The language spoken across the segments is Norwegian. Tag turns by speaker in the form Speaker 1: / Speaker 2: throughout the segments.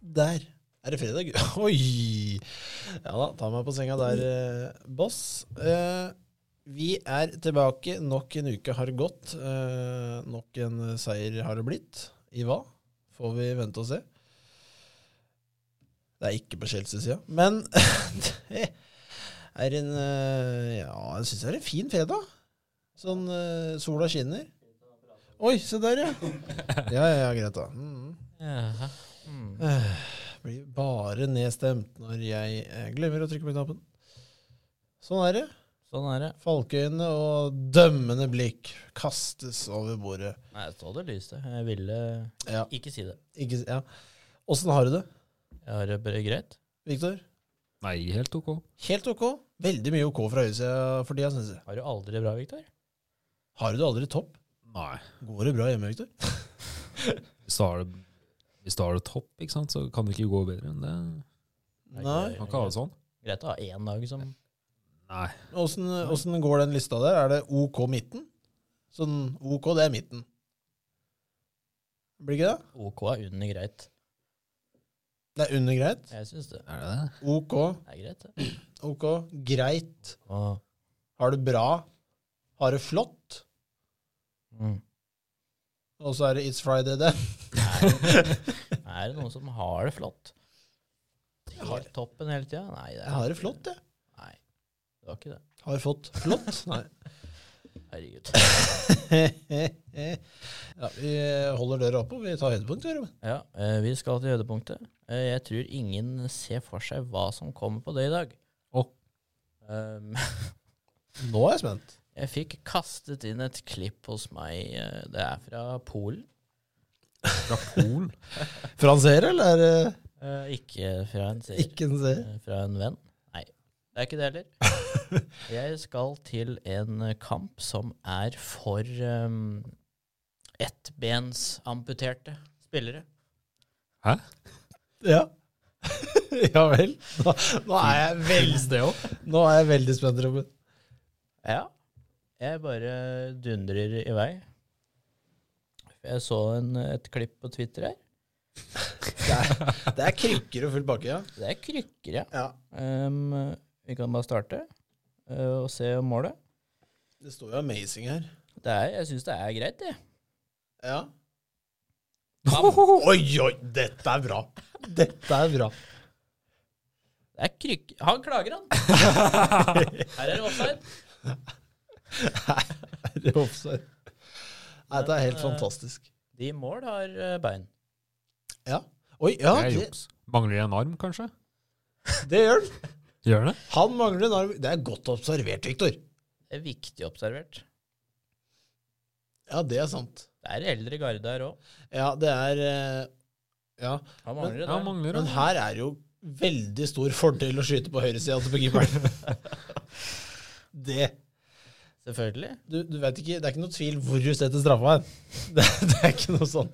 Speaker 1: der er det fredag. Oi! Ja da, ta meg på senga der, eh, boss. Eh, vi er tilbake. Nok en uke har gått. Eh, nok en seier har det blitt. I hva? Får vi vente og se. Det er ikke på Chelsea-sida. Men det er en eh, Ja, jeg syns det er en fin fredag. Sånn eh, sola skinner. Oi, se der, ja. Ja, ja, ja greit, da. Mm.
Speaker 2: Jaha. Mm.
Speaker 1: Eh. Blir bare nedstemt når jeg eh, glemmer å trykke på knappen. Sånn er det.
Speaker 2: Sånn er det.
Speaker 1: Falkeøyne og dømmende blikk kastes over bordet.
Speaker 2: Nei, jeg så det lyste. Jeg ville
Speaker 1: Ja,
Speaker 2: ikke si det.
Speaker 1: ikke s- Ja. Åssen har du det,
Speaker 2: Jeg har det bare greit.
Speaker 1: Viktor?
Speaker 3: Nei, helt ok.
Speaker 1: Helt ok. Veldig mye ok fra høyresida for tida, syns jeg.
Speaker 2: Har det aldri bra, Viktor?
Speaker 1: Har du det aldri topp?
Speaker 3: Nei.
Speaker 1: Går det bra hjemme, Viktor?
Speaker 3: Hvis du har det, hvis du har det topp, ikke sant, så kan det ikke gå bedre enn det.
Speaker 1: Nei.
Speaker 3: Du kan ikke ha det sånn.
Speaker 2: Greit å ha én dag som
Speaker 3: Nei.
Speaker 1: Åssen åssen går den lista der? Er det OK midten? Sånn OK, det er midten. Blir ikke det?
Speaker 2: OK er under greit.
Speaker 1: Det er under greit.
Speaker 2: Jeg syns det
Speaker 3: Er det det?
Speaker 1: OK,
Speaker 2: er greit, det.
Speaker 1: OK, greit.
Speaker 2: Åh.
Speaker 1: Har det bra? Har det flott?
Speaker 2: Mm.
Speaker 1: Og så er det It's Friday, det.
Speaker 2: Er det noen som har det flott?
Speaker 1: Jeg har-
Speaker 2: Helt toppen hele tida? Nei, det er
Speaker 1: Jeg har det
Speaker 2: ikke-
Speaker 1: flott, jeg.
Speaker 2: Nei, det var ikke det.
Speaker 1: Har fått flott? Nei.
Speaker 2: Herregud.
Speaker 1: ja, vi holder døra oppe, og vi tar høydepunkt. gjør vi.
Speaker 2: Ja, eh, vi skal til høydepunktet. Eh, jeg tror ingen ser for seg hva som kommer på det i dag.
Speaker 3: Å.
Speaker 2: Um,
Speaker 1: Nå er jeg spent.
Speaker 2: jeg fikk kastet inn et klipp hos meg. eh, Det er fra Polen.
Speaker 3: Fra Polen?
Speaker 1: Fra en seer, eller er det
Speaker 2: Eh, ikke fra en seer.
Speaker 1: ikke en seer?
Speaker 2: Eh, Fra en venn? Nei, det er ikke det heller. Jeg skal til en eh, kamp som er for um, ettbensamputerte spillere.
Speaker 1: Ja. ja vel. Nå, nå er jeg veldig Nå er jeg veldig spent, Robin.
Speaker 2: Ja. Jeg bare dundrer i vei. Jeg så en, et klipp på Twitter her.
Speaker 1: Det er, det er krykker og full bakke, ja.
Speaker 2: Det er krykker, ja.
Speaker 1: ja.
Speaker 2: Ehm, vi kan bare starte eh, og se målet.
Speaker 1: Det står jo 'amazing' her.
Speaker 2: Det er, jeg syns det er greit, det.
Speaker 1: Ja. Oi, oi, dette er bra. Dette er bra.
Speaker 2: Det er krykker. Han klager, han! Her er det offside.
Speaker 1: Er det offside? Nei, Dette er helt
Speaker 2: Men, eh,
Speaker 1: fantastisk.
Speaker 2: De i mål har eh, bein.
Speaker 1: Oi, ja,
Speaker 3: Det er
Speaker 1: det,
Speaker 3: juks. Mangler jeg en arm, kanskje?
Speaker 1: det gjør han.
Speaker 3: Gjør det?
Speaker 1: Han mangler en arm. Det er godt observert, Viktor.
Speaker 2: Det er viktig observert.
Speaker 1: Ja, det er sant.
Speaker 2: Det er eldre garde her òg.
Speaker 1: Ja, det er eh, Ja.
Speaker 2: Han mangler det.
Speaker 3: Ja,
Speaker 2: der.
Speaker 3: mangler
Speaker 1: Men
Speaker 3: det.
Speaker 1: her er jo veldig stor fordel å skyte på høyresida til keeperen. Det
Speaker 2: Selvfølgelig.
Speaker 1: Du, du vet ikke, Det er ikke noe tvil hvor du setter straffa hen. Det, det er ikke noe sånn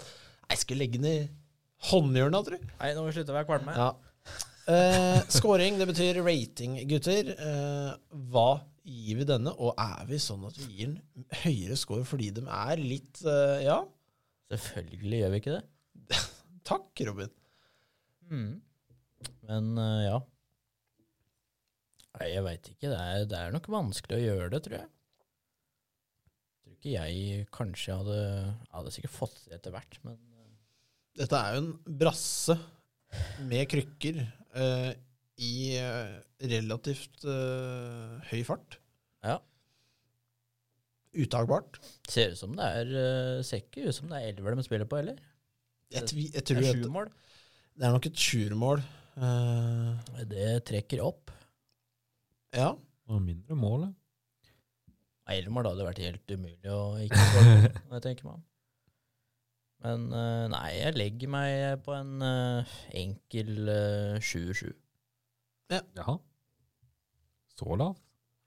Speaker 1: Jeg skulle legge den i håndhjørnet, tror jeg.
Speaker 2: Nei, nå må vi slutte å være kvalme.
Speaker 1: Ja. Eh, scoring, det betyr rating, gutter. Eh, hva gir vi denne, og er vi sånn at vi gir den høyere score fordi de er litt eh, Ja,
Speaker 2: Selvfølgelig gjør vi ikke det.
Speaker 1: takk, Robin.
Speaker 2: Mm. Men eh, ja. Nei, jeg veit ikke. Det er, det er nok vanskelig å gjøre det, tror jeg. Tror ikke jeg kanskje hadde Hadde sikkert fått det etter hvert, men
Speaker 1: Dette er jo en brasse med krykker eh, i eh, relativt eh, høy fart.
Speaker 2: Ja.
Speaker 1: Uttagbart.
Speaker 2: ser ut som det er eh, Ser ikke ut som det er elver de spiller på heller.
Speaker 1: Jeg,
Speaker 2: Det-
Speaker 1: tvi- jeg
Speaker 2: Det
Speaker 1: tror
Speaker 2: er
Speaker 1: at-
Speaker 2: sju mål.
Speaker 1: det er nok et sjuermål. Eh,
Speaker 2: Det trekker opp.
Speaker 1: ja.
Speaker 3: Og mindre mål, ja.
Speaker 2: Nei, Elmer da hadde det vært helt umulig å ikke skåre på, når jeg tenker meg om. Men eh, nei, jeg legger meg på en eh, enkel eh, 7-7.
Speaker 3: Jaha. Så lavt?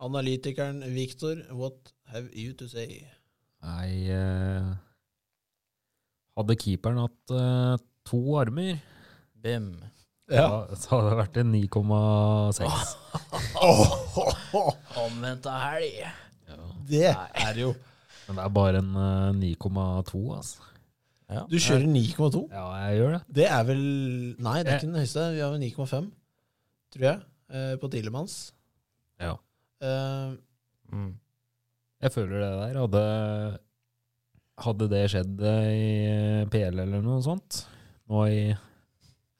Speaker 1: Analytikeren Victor, what have you to say?
Speaker 3: Nei eh, Hadde keeperen hatt eh, to armer,
Speaker 2: Bim.
Speaker 3: da, så hadde det vært en 9,6.
Speaker 2: Omvendt av helg.
Speaker 1: Det er jo
Speaker 3: Men det er bare en eh, 9,2, altså.
Speaker 2: Ja.
Speaker 1: Du kjører 9,2?
Speaker 3: Ja, jeg gjør det.
Speaker 1: Det er vel Nei, det er ikke den høyeste. Vi har vel 9,5, tror jeg, eh, på Dilemans.
Speaker 3: Ja.
Speaker 1: Eh,
Speaker 2: Mm.
Speaker 3: Jeg føler det der hadde Hadde det skjedd eh, i PL eller noe sånt, nå i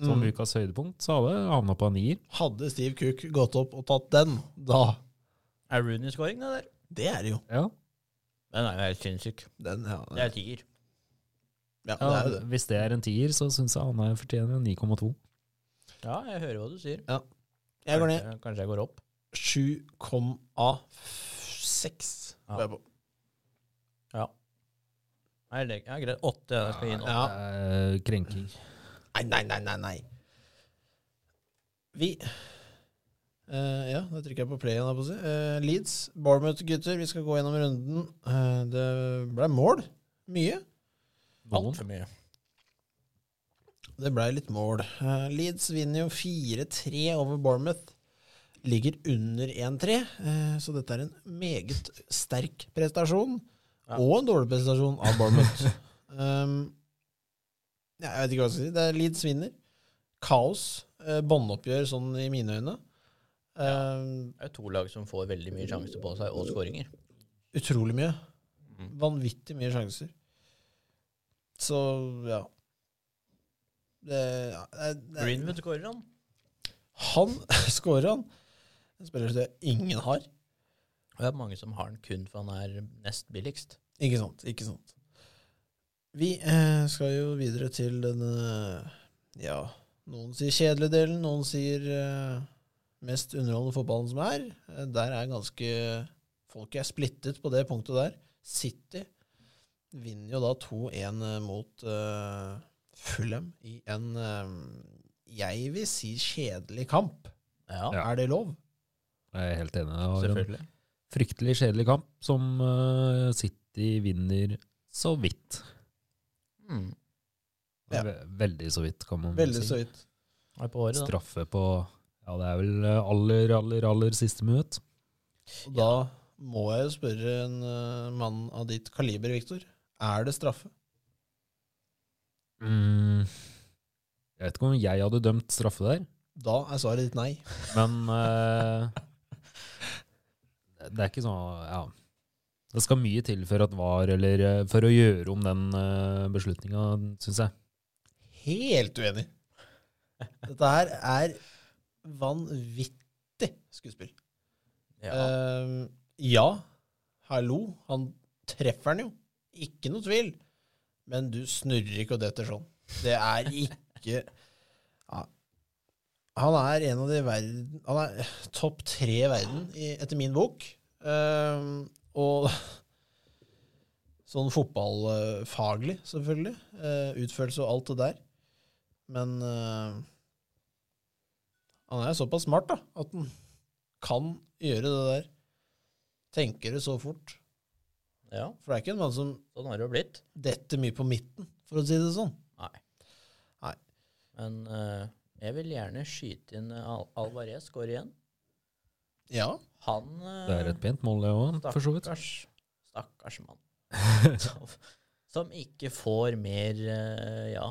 Speaker 3: som
Speaker 1: mm.
Speaker 3: ukas høydepunkt, så hadde jeg havna på en nier.
Speaker 1: Hadde Steve Cook gått opp og tatt den, da
Speaker 2: Er Rooney-scoring, det der?
Speaker 1: Det er det jo.
Speaker 3: Ja.
Speaker 2: Den er jo helt sinnssyk.
Speaker 1: Den, ja,
Speaker 2: Det er tier.
Speaker 1: ja, det
Speaker 3: Ja,
Speaker 1: er jo det.
Speaker 3: hvis det er en tier, så syns jeg han er fortjener en 9,2.
Speaker 2: Ja, jeg hører hva du sier.
Speaker 1: Jeg går ned
Speaker 2: Kanskje- Kanskje jeg går opp.
Speaker 1: 7,6.
Speaker 2: Ja.
Speaker 1: går jeg på.
Speaker 2: Nei, det er greit. Åtte, jeg skal gi en åtte.
Speaker 1: Ja.
Speaker 3: Eh, krenking.
Speaker 1: Nei, nei, nei, nei, nei. Vi Eh, Ja, da trykker jeg på play igjen. holdt jeg på å si. Eh, Leeds, Bournemouth, gutter. Vi skal gå gjennom runden. Eh, det ble mål. Mye.
Speaker 3: Noen.
Speaker 2: Altfor mye.
Speaker 1: Det ble litt mål. Eh, Leeds vinner jo 4-3 over Bournemouth. Ligger under 1-3, eh, så dette er en meget sterk prestasjon.
Speaker 2: Ja.
Speaker 1: Og en dårlig prestasjon av Bournemouth. um, ja, jeg vet ikke hva jeg skal si. Det er Leeds vinner. Kaos. Eh, Båndoppgjør sånn i mine øyne. Eh,
Speaker 2: Det er jo to lag som får veldig mye sjanser på seg, og skåringer.
Speaker 1: utrolig mye.
Speaker 2: Mm.
Speaker 1: Vanvittig mye sjanser. Så, ja. Det, ja, det, det,
Speaker 2: Greenwood skårer han.
Speaker 1: Han scorer han. En spiller det ingen har.
Speaker 2: Og det er mange som har han kun for han er nest billigst.
Speaker 1: Ikke sant. ikke sant. Vi eh, skal jo videre til denne Ja, noen sier kjedelige delen, noen sier eh, mest underholdende fotballen som er. Eh, Der er ganske Folk er splittet på det punktet der. City vinner jo da 2-1 mot eh, Fulham i en eh, Jeg vil si kjedelig kamp.
Speaker 2: Ja,
Speaker 3: Ja.
Speaker 1: Er det lov?
Speaker 3: Jeg er helt enig. Det var en
Speaker 2: selvfølgelig.
Speaker 3: fryktelig kjedelig kamp som eh, City vinner så vidt.
Speaker 2: Mm.
Speaker 1: Ja.
Speaker 3: Ve- Veldig så vidt, kan man
Speaker 1: Veldig
Speaker 3: si.
Speaker 1: så vidt.
Speaker 2: Er på håret, da.
Speaker 3: Straffe på Ja, det er vel eh, aller, aller, aller siste minutt.
Speaker 1: Og da må jeg jo spørre en eh, mann av ditt kaliber, Viktor. Er det straffe?
Speaker 3: Mm. Jeg vet ikke om jeg hadde dømt straffe der,
Speaker 1: Da er svaret ditt nei.
Speaker 3: men eh, Det er ikke sånn Ja. Det skal mye til for at var, eller eh, for å gjøre om den uh, beslutninga, syns jeg.
Speaker 1: Helt uenig. Dette her er vanvittig skuespill.
Speaker 2: Ja.
Speaker 1: Eh, ja, hallo, han treffer den jo. Ikke noe tvil. Men du snurrer ikke og detter sånn. Det er ikke ja. Han er en av de i verden Han er topp tre i verden, i, etter min bok. Eh, og sånn fotballfaglig, selvfølgelig. Eh, utførelse og alt det der. Men eh, han er såpass smart, da, at han kan gjøre det der. Tenker det så fort.
Speaker 2: ja,
Speaker 1: For det er ikke en mann som
Speaker 2: sånn har det jo blitt.
Speaker 1: detter mye på midten, for å si det sånn.
Speaker 2: Nei.
Speaker 1: Nei.
Speaker 2: Men eh, jeg vil gjerne skyte inn eh, Al Alvarez går igjen.
Speaker 1: Ja.
Speaker 2: Han eh,
Speaker 3: Det er et pent mål, det òg, for så vidt.
Speaker 2: Stakkars, stakkars mann. Som, som ikke får mer, eh, ja,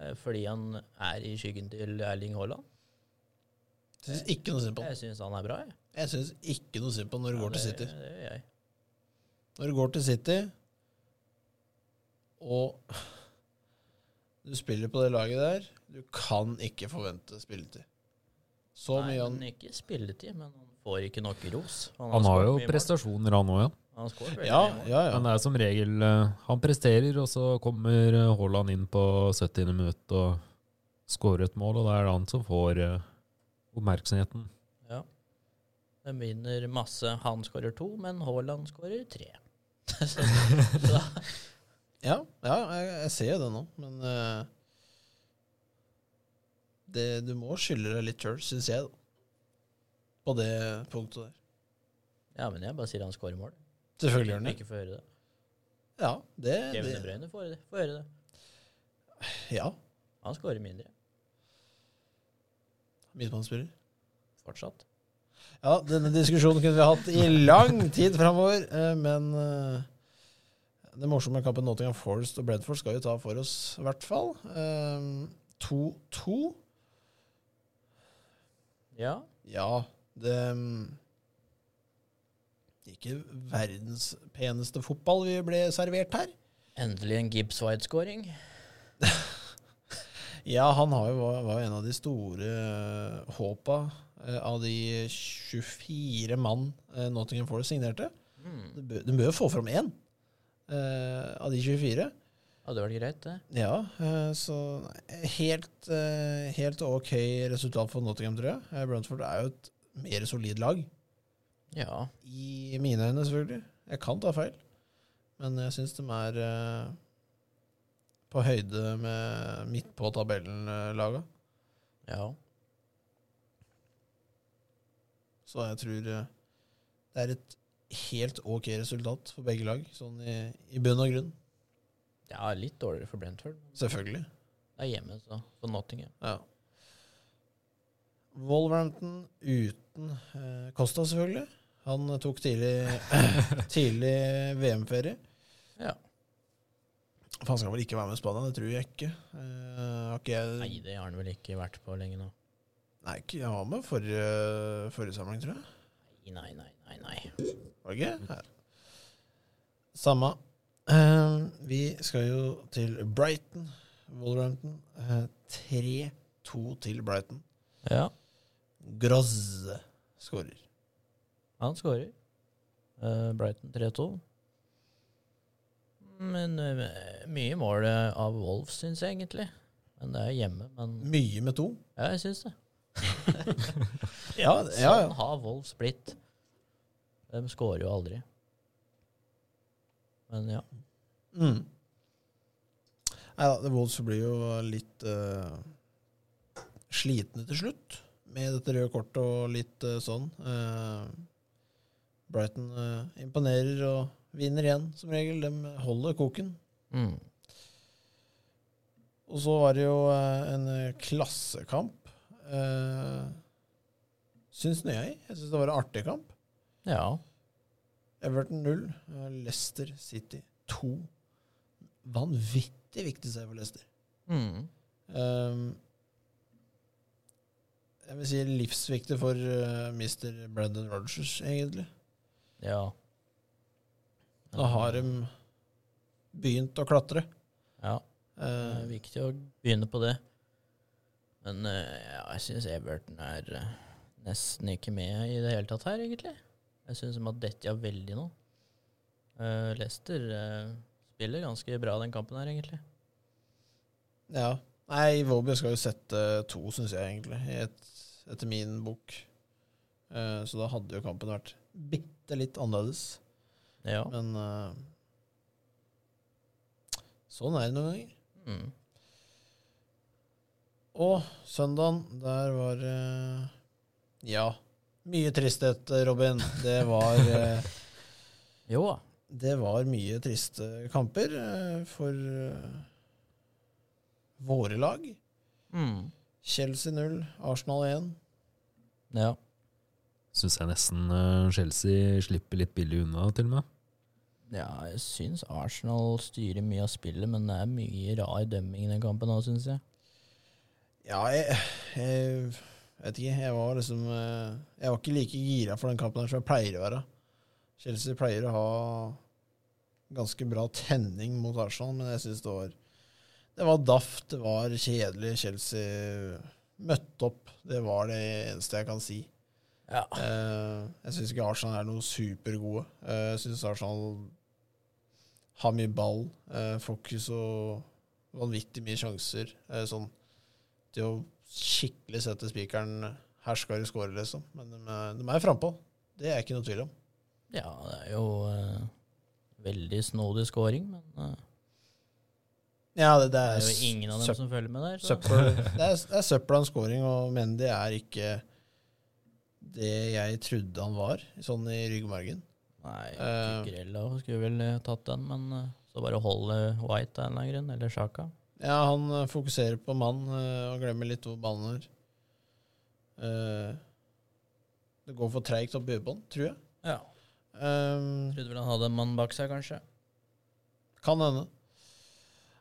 Speaker 2: eh, fordi han er i skyggen til Erling Haaland.
Speaker 1: Syns ikke noe synd på han.
Speaker 2: Jeg syns han er bra, jeg.
Speaker 1: Jeg syns ikke noe synd på han når du går til
Speaker 2: Ja,
Speaker 1: City.
Speaker 2: Det, det gjør jeg.
Speaker 1: Når du går til City, og du spiller på det laget der, du kan ikke forvente spilletid. Så
Speaker 2: Nei,
Speaker 1: mye han
Speaker 2: men ikke spilletid, men han får ikke nok ros.
Speaker 3: Han har jo
Speaker 2: skåret mye mål.
Speaker 3: prestasjoner, han òg, ja.
Speaker 2: Han har skåret veldig
Speaker 1: Ja,
Speaker 2: mye mål.
Speaker 1: ja, ja.
Speaker 3: Men det er som regel eh, Han presterer, og så kommer eh, Haaland inn på 70. minutt og skårer et mål, og det er han som får eh, oppmerksomheten.
Speaker 2: Ja. De vinner masse. Han skårer to, men Haaland skårer tre. så, så,
Speaker 1: Ja, ja jeg, jeg ser jo det nå, men eh, det, du må skylde deg litt sjøl, syns jeg, da. På det punktet der.
Speaker 2: ja, men jeg bare sier han skårer mål.
Speaker 1: Selvfølgelig gjør han det.
Speaker 2: Ikke får høre det.
Speaker 1: Ja, det,
Speaker 2: Kevin De
Speaker 1: det,
Speaker 2: Bruyne får høre det. Får høre det.
Speaker 1: ja.
Speaker 2: Han skårer mindre
Speaker 1: Midtbanespiller.
Speaker 2: fortsatt.
Speaker 1: Ja, denne diskusjonen kunne vi hatt i lang tid framover, eh, men eh, det morsomme med kampen Nottingham Forest og Bredford skal vi ta for oss, i hvert fall. Ehm, 2-2.
Speaker 2: Ja.
Speaker 1: Ja, det mm, Ikke verdens peneste fotball vi ble servert her.
Speaker 2: Endelig en Gibbs White-scoring.
Speaker 1: Ja, han har jo, var, var jo en av de store eh, håpa eh, av de 24 mann eh, Nottingham Forest signerte.
Speaker 2: Mm.
Speaker 1: Du bør, du bør jo få fram én eh, av de 24.
Speaker 2: Hadde vært greit, det.
Speaker 1: Ja, eh, så nei, helt, eh, helt ok resultat for Nottingham, tror jeg. Eh, Brentford er jo et mer solid lag,
Speaker 2: Ja.
Speaker 1: i mine øyne selvfølgelig. Jeg kan ta feil, men jeg syns de er eh, på høyde med midt på eh, tabellen-laga.
Speaker 2: ja.
Speaker 1: Så jeg tror eh, det er et helt ok resultat for begge lag, sånn i, i bunn og grunn.
Speaker 2: Ja, litt dårligere for Brentford.
Speaker 1: Selvfølgelig.
Speaker 2: Det er hjemme, så. For Nottingham.
Speaker 1: Ja. Wolverhampton uten eh, Costa, selvfølgelig. Han eh, tok tidlig, tidlig VM-ferie.
Speaker 2: Ja.
Speaker 1: For han skal vel ikke være med Spania, det tror jeg ikke. Eh, har ikke jeg
Speaker 2: Nei, det har han vel ikke vært på lenge nå.
Speaker 1: Nei, ikke, jeg var med forrige, forrige samling, tror jeg.
Speaker 2: Nei, nei, nei, nei. nei.
Speaker 1: Var det ikke? Ja. Samme. Eh, vi skal jo til Brighton, Wolverhampton. Eh, 3-2 til Brighton.
Speaker 2: Ja,
Speaker 1: Gross skårer.
Speaker 2: han skårer. Eh, Brighton 3-2. Men eh, mye mål eh, av Wolves, syns jeg egentlig. Men det er hjemme. Men
Speaker 1: Mye med to.
Speaker 2: ja, jeg syns det.
Speaker 1: Ja,
Speaker 2: Sånn
Speaker 1: ja, ja.
Speaker 2: har Wolves blitt. De skårer jo aldri. Men ja.
Speaker 1: Mm. Nei da, The Wolves blir jo litt eh, slitne til slutt med dette røde kortet og litt eh, sånn. Eh, Brighton eh, imponerer og vinner igjen, som regel. De holder koken.
Speaker 2: Mm.
Speaker 1: Og så var det jo eh, en eh, klassekamp. Uh, syns nå jeg. Jeg syns det var en artig kamp.
Speaker 2: Ja.
Speaker 1: Everton 0, eh, Leicester City 2. Vanvittig viktig seier for Leicester.
Speaker 2: Mm.
Speaker 1: Ehm, jeg vil si livsviktig for eh, Mr. Brendan Rogers, egentlig.
Speaker 2: Ja.
Speaker 1: Nå har de begynt å klatre.
Speaker 2: Ja. Det
Speaker 1: Eh,
Speaker 2: er viktig å begynne på det. Men eh, ja, jeg syns Everton er eh, nesten ikke med i det hele tatt her, egentlig. Jeg syns de har detta veldig nå. Uh, Leicester eh, spiller ganske bra den kampen her, egentlig.
Speaker 1: ja. Nei, Iwobi skal jo sette to, syns jeg, egentlig, i et, etter min bok. Eh, så da hadde jo kampen vært bitte litt annerledes.
Speaker 2: Ja.
Speaker 1: Men eh, sånn er det noen ganger.
Speaker 2: Mm.
Speaker 1: Og søndagen, der var det Ja, mye tristhet, eh, Robin. Det var, eh,
Speaker 2: Jo da.
Speaker 1: det var mye triste kamper eh, for eh, våre lag.
Speaker 2: Mm.
Speaker 1: Chelsea 0, Arsenal 1.
Speaker 2: Ja.
Speaker 3: Syns jeg nesten eh, Chelsea slipper litt billig unna, til og med.
Speaker 2: ja, jeg syns Arsenal styrer mye av spillet, men det er mye rar dømming i den kampen òg, syns jeg.
Speaker 1: Ja, jeg, jeg vet ikke. Jeg var liksom eh, Jeg var ikke like gira for den kampen her som jeg pleier å være. Chelsea pleier å ha ganske bra tenning mot Arsenal, men jeg syns det var Det var daft, det var kjedelig. Chelsea møtte opp. Det var det eneste jeg kan si.
Speaker 2: Ja.
Speaker 1: Eh, jeg syns ikke Arsenal er noe supergode. Eh, jeg syns Arsenal har mye ball, eh, fokus og vanvittig mye sjanser. eh, sånn til å skikkelig sette spikeren her skal du score, liksom. Men de, er- de er frampå. Det er ikke noe tvil om.
Speaker 2: Ja, det er jo eh, veldig snodig scoring, men eh,
Speaker 1: Ja, det, det
Speaker 2: det
Speaker 1: er,
Speaker 2: er jo ingen av dem
Speaker 1: søpp-
Speaker 2: som følger med der. Så.
Speaker 1: søppel. Det er, det er søppel av en scoring, og Mendy er ikke det jeg trodde han var, sånn i ryggmargen.
Speaker 2: Nei,
Speaker 1: Eh,
Speaker 2: Cucurella skulle vel eh, tatt den, men eh, så bare holder White av en eller annen grunn, eller Sjaka.
Speaker 1: Ja, han eh, fokuserer på mann eh, og glemmer litt hvor ballen er. Eh, Det går for treigt opp i øyebånd, tror jeg.
Speaker 2: Ja.
Speaker 1: Um,
Speaker 2: Trodde vel han hadde en mann bak seg, kanskje.
Speaker 1: Kan hende.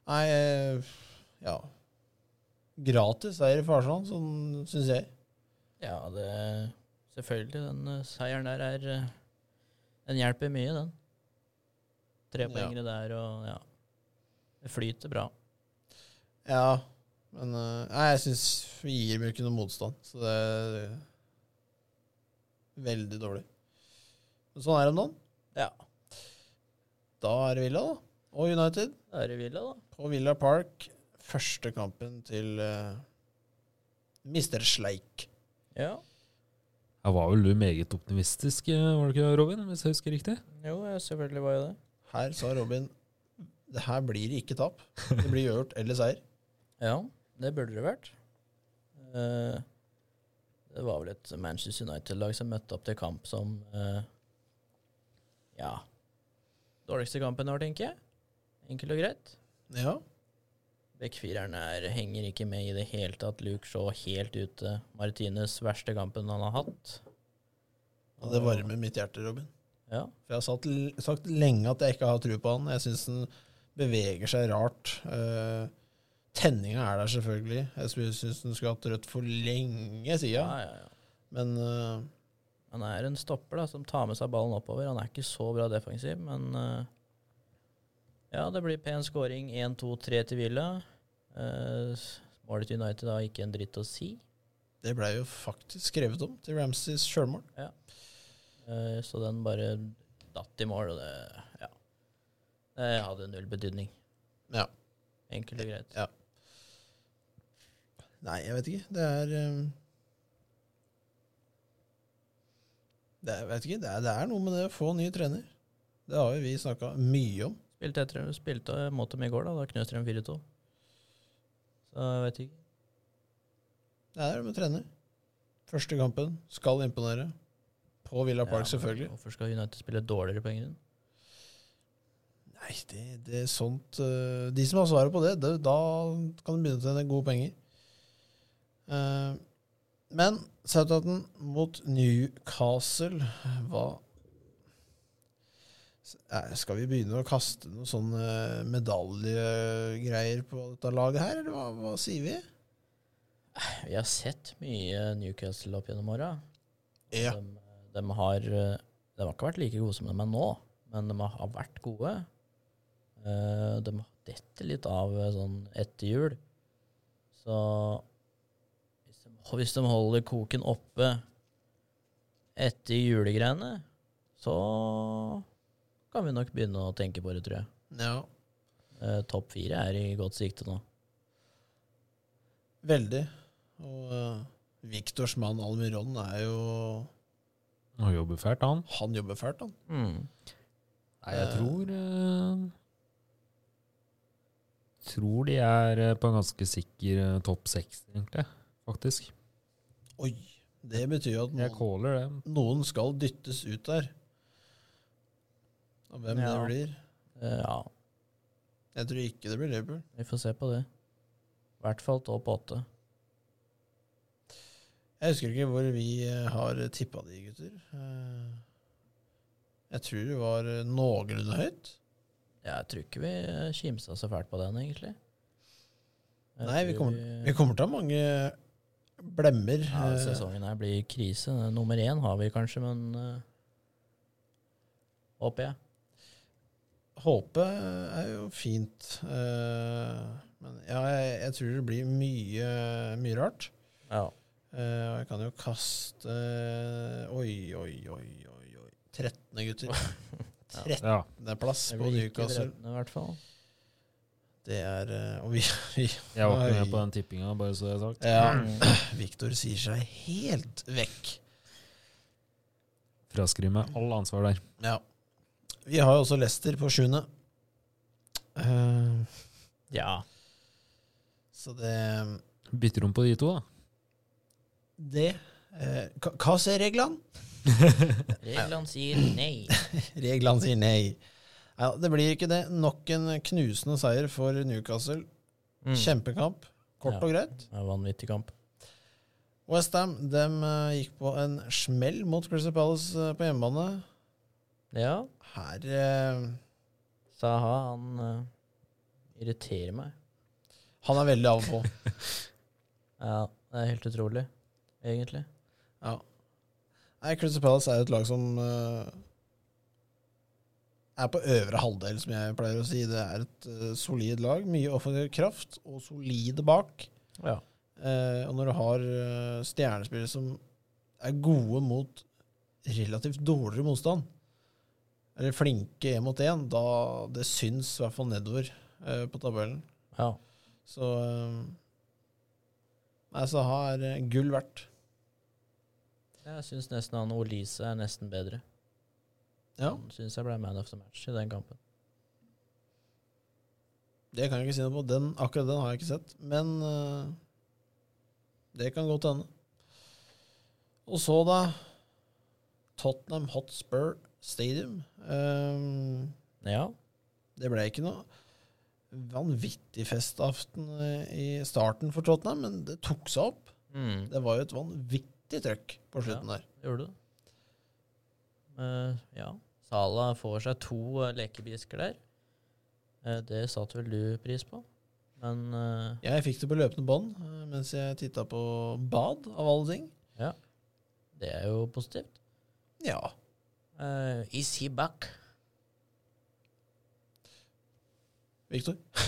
Speaker 1: Nei, eh, ja Gratis seier i Farsland, sånn syns jeg.
Speaker 2: Ja, det Selvfølgelig, den eh, seieren der er eh, Den hjelper mye, den. Tre
Speaker 1: Ja.
Speaker 2: poengere der og ja. Det flyter bra.
Speaker 1: Ja, men eh, Nei, jeg syns vi gir dem jo ikke noe motstand, så det er veldig dårlig. Men sånn er det om dagen.
Speaker 2: Ja.
Speaker 1: Da er det Villa, da. Og United.
Speaker 2: Da er det Villa, da.
Speaker 1: På Villa Park, første kampen til eh, Mr. Sleik.
Speaker 2: Ja.
Speaker 3: Her var vel du meget optimistisk, eh, var du ikke Robin, hvis jeg husker riktig?
Speaker 2: Jo, jeg selvfølgelig var jo det.
Speaker 1: Her sa Robin det her blir ikke tap. Det blir uavgjort eller seier.
Speaker 2: Ja, det burde det vært. Eh, det var vel et Manchester United-lag som møtte opp til kamp som eh, Ja. Dårligste kampen i år, tenker jeg. Enkelt og greit.
Speaker 1: Ja.
Speaker 2: Backfireren er- henger ikke med i det hele tatt. Luke Shaw helt ute. Martinez verste kampen han har hatt.
Speaker 1: Og det varmer mitt hjerte, Robin.
Speaker 2: Ja.
Speaker 1: For jeg har sagt, sagt lenge at jeg ikke har tro på han. Jeg syns han beveger seg rart. Eh, tenninga er der, selvfølgelig. Jeg syns han skulle hatt rødt for lenge
Speaker 2: Ja,
Speaker 1: sida.
Speaker 2: ja, ja.
Speaker 1: Men eh,
Speaker 2: Han er en stopper da, som tar med seg ballen oppover. Han er ikke så bra defensiv, men eh, Ja, det blir pen scoring. 1-2-3 til Villa. Eh, målet til United har ikke en dritt å si,
Speaker 1: det blei jo faktisk skrevet om til Ramsays sjølmål.
Speaker 2: Eh, så den bare datt i mål, og det Ja. Det hadde null betydning.
Speaker 1: Ja.
Speaker 2: Enkelt og greit.
Speaker 1: Nei, jeg vet ikke. Det er eh, det er, jeg vet ikke, det, er, det er noe med det å få ny trener. Det har jo vi snakka mye om.
Speaker 2: Spilte, etter, spilte mot dem i går, da. Da knuste de 4-2. Så jeg vet ikke.
Speaker 1: Det er det med trener. Første kampen skal imponere. På Villa Park,
Speaker 2: Ja, men
Speaker 1: selvfølgelig.
Speaker 2: Hvorfor skal United spille dårligere på egen grunn?
Speaker 1: Nei, det, det er sånt eh, De som har svaret på det, det da kan de begynne å tjene gode penger. Eh, men Southampton mot Newcastle hva S- eh, Skal vi begynne å kaste noen sånne medaljegreier på dette laget her, eller hva, hva sier vi?
Speaker 2: Vi har sett mye Newcastle opp gjennom åra.
Speaker 1: Ja.
Speaker 2: De, de har eh, De har ikke vært like gode som de er nå, men de har vært gode. Eh, De detter litt av eh, sånn etter jul. Så hvis de, hvis de holder koken oppe etter julegreiene, så kan vi nok begynne å tenke på det, tror jeg.
Speaker 1: ja.
Speaker 2: Eh, Topp fire er i godt sikte nå.
Speaker 1: Veldig. Og eh, Victors mann Almiron er jo
Speaker 3: Han jobber fælt, han.
Speaker 1: Han jobber fælt, han.
Speaker 3: Nei, jeg
Speaker 1: Eh.
Speaker 3: tror eh, Tror de er eh, på en ganske sikker eh, topp seks, egentlig. Faktisk.
Speaker 1: Oi. Det betyr jo at
Speaker 3: Jeg
Speaker 1: noen-
Speaker 3: caller det.
Speaker 1: noen skal dyttes ut der. Og hvem
Speaker 2: Ja.
Speaker 1: det blir
Speaker 2: Eh, Ja,
Speaker 1: Jeg tror ikke det blir Liverpool.
Speaker 2: vi får se på det. I hvert fall topp åtte.
Speaker 1: Jeg husker ikke hvor vi eh, har tippa de, gutter. Eh, Jeg tror det var eh, noenlunde høyt.
Speaker 2: Jeg tror ikke vi eh, kimsa så fælt på den, egentlig. Jeg
Speaker 1: Nei, vi
Speaker 2: tror
Speaker 1: kommer, vi kommer til å ha mange blemmer.
Speaker 2: ja,
Speaker 1: eh,
Speaker 2: Sesongen her blir krise. Nummer én har vi kanskje, men eh, Håper jeg.
Speaker 1: Håpe Eh, er jo fint. eh, Men ja, jeg, jeg tror det blir mye, mye rart.
Speaker 2: Ja.
Speaker 1: Eh, Og jeg kan jo kaste eh, Oi, oi, oi, oi. oi. 13., gutter. 13.
Speaker 3: Ja.
Speaker 1: plass
Speaker 2: Det
Speaker 1: på
Speaker 2: blir ikke
Speaker 1: Newcastle.
Speaker 2: drettende, i hvert fall.
Speaker 1: Det er eh, Og vi,
Speaker 3: Jeg var ikke
Speaker 1: Oi.
Speaker 3: med på den tippinga, bare så det er sagt.
Speaker 1: ja,
Speaker 2: Mm.
Speaker 1: Victor sier seg helt vekk.
Speaker 3: Fraskriv meg all ansvar der.
Speaker 1: Ja. Vi har jo også Leicester på sjuende. Eh,
Speaker 2: Ja.
Speaker 1: så det
Speaker 3: Bytter om på de to, da.
Speaker 1: Det eh, hva- Hva sier reglene?
Speaker 2: Reglene sier nei.
Speaker 1: Reglene sier nei. Ja, det blir ikke det. Nok en knusende seier for Newcastle. Mm. Kjempekamp. Kort
Speaker 2: Mm. Ja.
Speaker 1: og greit.
Speaker 2: Det er vanvittig kamp.
Speaker 1: Westham eh, gikk på en smell mot Crystal Palace eh, på hjemmebane.
Speaker 2: Ja.
Speaker 1: Her eh,
Speaker 2: Saha, han eh, irriterer meg.
Speaker 1: Han er veldig av og på.
Speaker 2: Ja, det er helt utrolig, egentlig.
Speaker 1: Ja. Nei, Crystal Palace er jo et lag som eh, er på øvre halvdel, som jeg pleier å si. Det er et eh, solid lag. Mye offensiv kraft og solide bak.
Speaker 2: Ja.
Speaker 1: Eh, og når du har eh, stjernespillere som er gode mot relativt dårligere motstand, eller flinke én mot én, da det syns i hvert fall nedover eh, på tabellen.
Speaker 2: ja.
Speaker 1: Så eh, Nei, så har eh, gull verdt.
Speaker 2: Jeg syns nesten han Olise er nesten bedre.
Speaker 1: Ja,
Speaker 2: Han syns jeg ble man of the match i den kampen.
Speaker 1: det kan jeg ikke si noe på. Den, akkurat den har jeg ikke sett. Men eh, det kan godt hende. Og så, da Tottenham Hotspur Stadium. Eh,
Speaker 2: Ja.
Speaker 1: Det ble ikke noe vanvittig festaften eh, i starten for Tottenham, men det tok seg opp.
Speaker 2: Mm.
Speaker 1: Det var jo et vanvittig trøkk på slutten der.
Speaker 2: Gjorde du det? Eh, ja. Sala får seg to eh, lekebisker der. Eh, det satte vel du pris på? Men eh,
Speaker 1: Jeg fikk det på løpende bånd eh, mens jeg titta på bad, av alle ting.
Speaker 2: det er jo positivt.
Speaker 1: Ja.
Speaker 2: Eh, is he back?
Speaker 1: Viktor?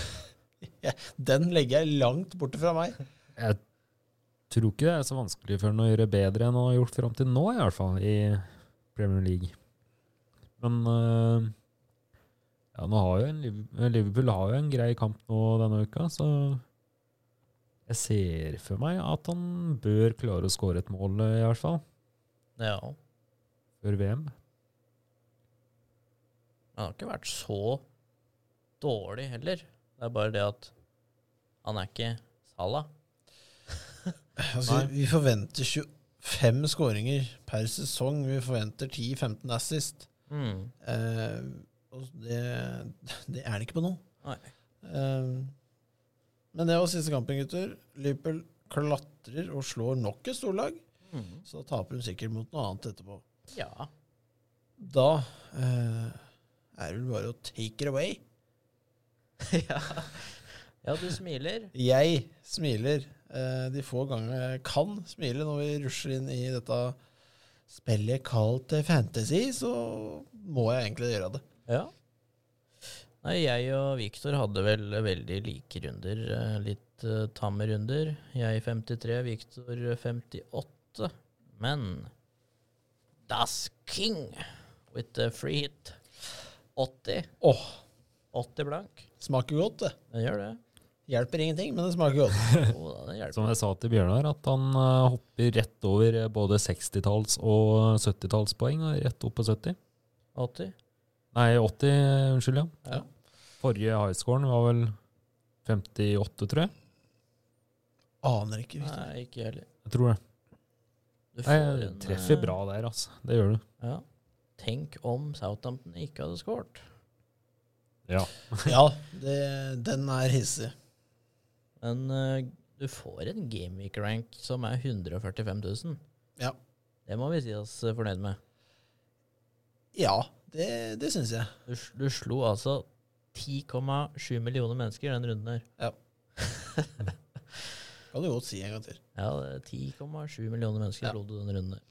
Speaker 1: Ja, Den legger jeg langt borte fra meg.
Speaker 3: Jeg tror ikke det er så vanskelig for ham å gjøre bedre enn han har gjort fram til nå, i hvert fall, i Premier League. Men øh, ja, nå har jo en, Liv- Liverpool har jo en grei kamp nå denne uka, så jeg ser for meg at han bør klare å skåre et mål, øh, i hvert fall,
Speaker 2: Ja.
Speaker 3: før VM.
Speaker 2: Han har ikke vært så dårlig heller. Det er bare det at han er ikke Salah.
Speaker 1: Altså,
Speaker 3: Nei.
Speaker 1: vi forventer 25 skåringer per sesong. Vi forventer 10-15 assist.
Speaker 2: Mm.
Speaker 1: Eh, og det, det er det ikke på nå.
Speaker 2: Nei.
Speaker 1: Ehm, Men det var siste kampen, gutter. Liverpool klatrer og slår nok et storlag.
Speaker 2: Mm.
Speaker 1: Så da taper hun sikkert mot noe annet etterpå.
Speaker 2: Ja.
Speaker 1: Da eh, er det vel bare å take it away.
Speaker 2: ja. Ja, du smiler.
Speaker 1: Jeg smiler eh, de få gangene jeg kan smile når vi rusher inn i dette spillet kalt eh, fantasy, så må jeg egentlig gjøre det.
Speaker 2: Ja. Nei, jeg og Viktor hadde vel veldig like runder. eh, Litt eh, tamme runder. Jeg 53, Viktor 58. Men Das King with the free hit. 80.
Speaker 1: Åh,
Speaker 2: 80 blank.
Speaker 1: smaker godt, det.
Speaker 2: Den gjør det.
Speaker 1: Hjelper ingenting, men det smaker godt.
Speaker 2: Jo da, den hjelper.
Speaker 3: Som jeg sa til Bjørnar, at han øh, hopper rett over øh, både 60-talls- og 70-tallspoeng, og rett opp på 70.
Speaker 2: 80.
Speaker 3: Nei, 80, unnskyld, ja.
Speaker 1: Ja.
Speaker 3: Forrige highscoren var vel 58, tror jeg.
Speaker 1: Aner ikke. Victor.
Speaker 2: Nei, ikke jeg heller.
Speaker 3: Jeg tror det.
Speaker 2: Du
Speaker 3: Nei,
Speaker 2: får
Speaker 3: jeg
Speaker 2: en,
Speaker 3: treffer
Speaker 2: eh,
Speaker 3: bra der, altså. Det gjør du.
Speaker 2: Ja. Tenk om Southampton ikke hadde skåret.
Speaker 3: Ja.
Speaker 1: Ja, det, den er hissig.
Speaker 2: Men eh, du får en gameweek rank som er 145 000.
Speaker 1: Ja.
Speaker 2: Det må vi si oss eh, fornøyd med.
Speaker 1: Ja, det, det syns jeg.
Speaker 2: Du, s- du slo altså 10,7 millioner mennesker i den runden her.
Speaker 1: Kan du godt si en gang til.
Speaker 2: Ja, det er 10,7 millioner
Speaker 1: Ja.
Speaker 2: mennesker slo du den runden her.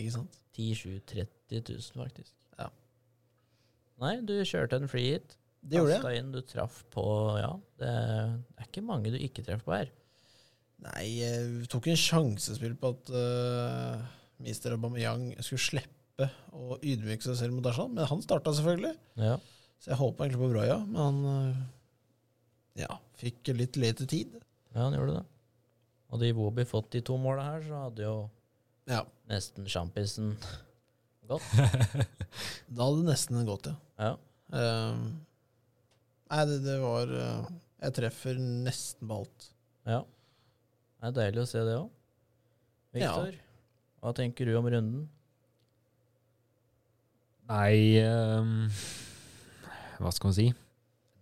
Speaker 1: Ikke sant?
Speaker 2: 10 7 30 000, faktisk.
Speaker 1: Ja.
Speaker 2: Nei, du kjørte en free hit.
Speaker 1: Det gjorde jeg.
Speaker 2: Kasta inn, du traff på Ja, det er, det er ikke mange du ikke treffer på her.
Speaker 1: Nei, jeg tok en sjansespill på at uh, Mr. Aubameyang skulle slippe å ydmyke seg selv mot Darsan, men han starta selvfølgelig.
Speaker 2: Ja.
Speaker 1: Så jeg håpa egentlig på Broya, men han eh, ja, fikk litt lite tid.
Speaker 2: Ja, han gjorde det. Hadde Iwobi fått de to måla her, så hadde jo
Speaker 1: Ja,
Speaker 2: nesten sjampisen gått.
Speaker 1: Da hadde det nesten gått, ja.
Speaker 2: Ja.
Speaker 1: Ehm, nei, det, det var eh, Jeg treffer nesten på alt.
Speaker 2: ja. Det er deilig å se det òg. Viktor, hva tenker du om runden?
Speaker 3: Nei ehm, Hva skal man si?